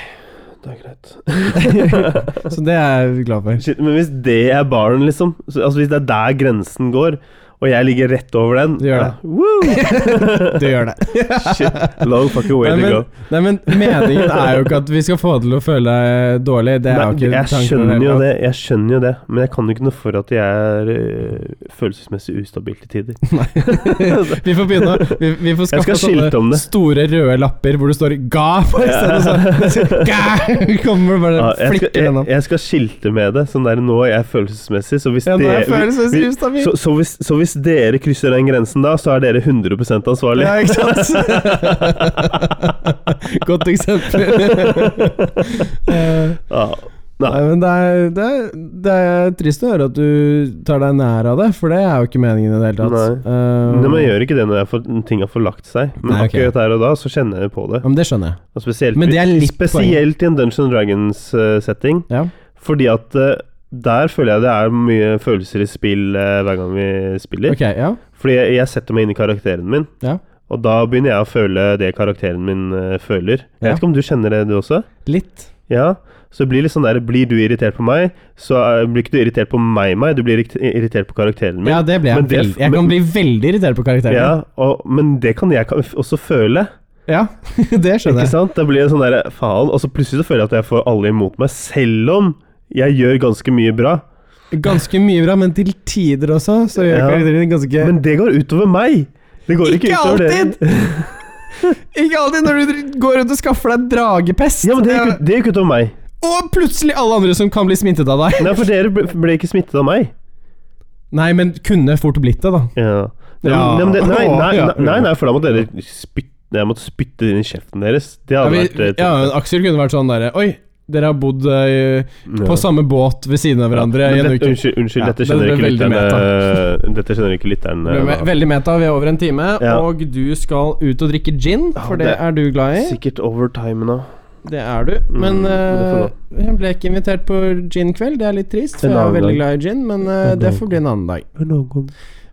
Speaker 2: det er greit.
Speaker 1: så det er jeg glad for.
Speaker 2: (laughs) Shit, men hvis det er baren, liksom så, Altså Hvis det er der grensen går, og jeg ligger rett over den
Speaker 1: Du gjør
Speaker 2: ja, woo!
Speaker 1: Du gjør det.
Speaker 2: Shit, long fucking (laughs)
Speaker 1: Nei
Speaker 2: way to
Speaker 1: men,
Speaker 2: go.
Speaker 1: nei, men meningen er jo ikke at vi skal få deg til å føle deg dårlig. Det er jo
Speaker 2: Nei,
Speaker 1: ikke
Speaker 2: jeg
Speaker 1: tanken
Speaker 2: skjønner
Speaker 1: med
Speaker 2: jo
Speaker 1: hele
Speaker 2: det, jeg skjønner jo det, men jeg kan jo ikke noe for at jeg er øh, følelsesmessig ustabil til tider.
Speaker 1: tatt. Vi får begynne å- Vi, vi får
Speaker 2: Jeg
Speaker 1: skaffe
Speaker 2: skal skilte om det.
Speaker 1: store røde lapper hvor det står 'ga' på i stedet. Sånn. Ga! Kommer
Speaker 2: Ja,
Speaker 1: bare
Speaker 2: jeg, skal,
Speaker 1: flikker
Speaker 2: jeg,
Speaker 1: gjennom.
Speaker 2: jeg skal skilte med det. Sånn der, nå er jeg følelsesmessig, så hvis,
Speaker 1: Ja, nå er jeg
Speaker 2: dere, vi-
Speaker 1: følelsesmessig ustabil.
Speaker 2: så, så, hvis, så hvis dere krysser den grensen da, så er dere 100 ansvarlig.
Speaker 1: Ja, ikke sant? Godt
Speaker 2: (laughs)
Speaker 1: eksempel. Eh,
Speaker 2: (laughs) Ja. Nei.
Speaker 1: Nei, men det er, det, er, det er trist å høre at du tar deg nær av det, for det er jo ikke meningen i det hele tatt. Eh,
Speaker 2: Men jeg gjør ikke det når jeg får, ting har forlagt seg, men
Speaker 1: Nei, ok.
Speaker 2: akkurat der og da så kjenner jeg på det.
Speaker 1: ja, men det skjønner jeg.
Speaker 2: Og spesielt,
Speaker 1: Men det er litt
Speaker 2: spesielt i en Dungeon Dragons-setting.
Speaker 1: Ja.
Speaker 2: Fordi at eh, der føler jeg det er mye følelser i spill eh, hver gang vi spiller.
Speaker 1: Ok, ja.
Speaker 2: Fordi jeg, jeg setter meg inn i karakteren min,
Speaker 1: Ja.
Speaker 2: og da begynner jeg å føle det karakteren min eh, føler. Jeg
Speaker 1: Ja.
Speaker 2: vet ikke om du kjenner det, du også?
Speaker 1: Litt.
Speaker 2: Ja. Så det blir litt sånn der Blir du irritert på meg, så eh, blir ikke du irritert på meg, meg. Du blir irrit- irritert på karakteren min.
Speaker 1: Ja, det ble jeg.
Speaker 2: Men det-
Speaker 1: veldig- jeg kan bli veldig irritert på
Speaker 2: Ja,
Speaker 1: karakteren.
Speaker 2: og, men det kan jeg ka- også føle.
Speaker 1: Ja, (laughs) det skjønner
Speaker 2: Ikke
Speaker 1: jeg.
Speaker 2: sant? Det blir en sånn der faen. Og så plutselig så føler jeg at jeg får alle imot meg, selv om jeg gjør ganske mye bra.
Speaker 1: Ganske mye bra, men til tider også, så gjør
Speaker 2: Ja.
Speaker 1: karakteren din ganske
Speaker 2: Men det går utover meg! Det går ikke,
Speaker 1: Ikke
Speaker 2: utover
Speaker 1: alltid!
Speaker 2: dere. (laughs)
Speaker 1: Ikke alltid når du går rundt og skaffer deg dragepest,
Speaker 2: Ja, men det gikk, ut- det gikk utover meg.
Speaker 1: og plutselig alle andre som kan bli smittet av deg.
Speaker 2: (laughs) Nei, for dere ble, ble ikke smittet av meg.
Speaker 1: Nei, men kunne fort blitt det, da.
Speaker 2: Ja. Nei,
Speaker 1: Ja.
Speaker 2: men det, nei, nei,
Speaker 1: Ja.
Speaker 2: nei, nei, nei, for da måtte dere spytte Jeg måtte spytte inn i kjeften deres. Det
Speaker 1: Ja,
Speaker 2: hadde
Speaker 1: vi,
Speaker 2: vært eh,
Speaker 1: ja, men Aksel kunne vært sånn derre Oi, dere har bodd eh, på samme båt ved siden av hverandre i
Speaker 2: Men
Speaker 1: en
Speaker 2: dette,
Speaker 1: uke.
Speaker 2: Unnskyld, unnskyld
Speaker 1: Ja,
Speaker 2: dette
Speaker 1: det
Speaker 2: skjønner
Speaker 1: ble
Speaker 2: ikke
Speaker 1: veldig
Speaker 2: lytterne Dette skjønner ikke
Speaker 1: Det ble me-
Speaker 2: lytterne.
Speaker 1: Veldig meta, vi er over en time,
Speaker 2: Ja.
Speaker 1: og du skal ut og drikke gin, for
Speaker 2: Ja,
Speaker 1: det
Speaker 2: det-
Speaker 1: er du glad i.
Speaker 2: Sikkert overtime nå.
Speaker 1: Det er du. Men
Speaker 2: Mm,
Speaker 1: eh,
Speaker 2: det
Speaker 1: jeg ble ikke invitert på ginkveld, det er litt trist, for
Speaker 2: En
Speaker 1: jeg er
Speaker 2: annen
Speaker 1: veldig
Speaker 2: dag.
Speaker 1: glad i gin, men eh,
Speaker 2: En
Speaker 1: det
Speaker 2: annen
Speaker 1: får bli en annen dag.
Speaker 2: Takk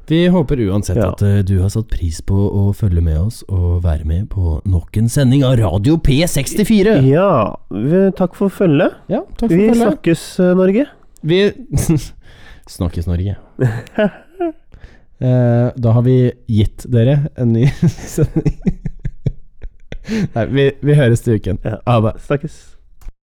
Speaker 1: Vi håper uansett
Speaker 2: Ja.
Speaker 1: at eh, du har satt pris på å følge med oss og være med på nok en sending av Radio P64.
Speaker 2: Ja, vi- takk for følget.
Speaker 1: Ja, takk for
Speaker 2: Vi
Speaker 1: følget. (laughs)
Speaker 2: snakkes, eh, Norge. (laughs)
Speaker 1: Vi Snakkes, Norge. Eh, da har vi gitt dere en (laughs) ny sending. Nei, vi, vi høres til uken.
Speaker 2: Ja.
Speaker 1: Ha det.
Speaker 2: Snakkes.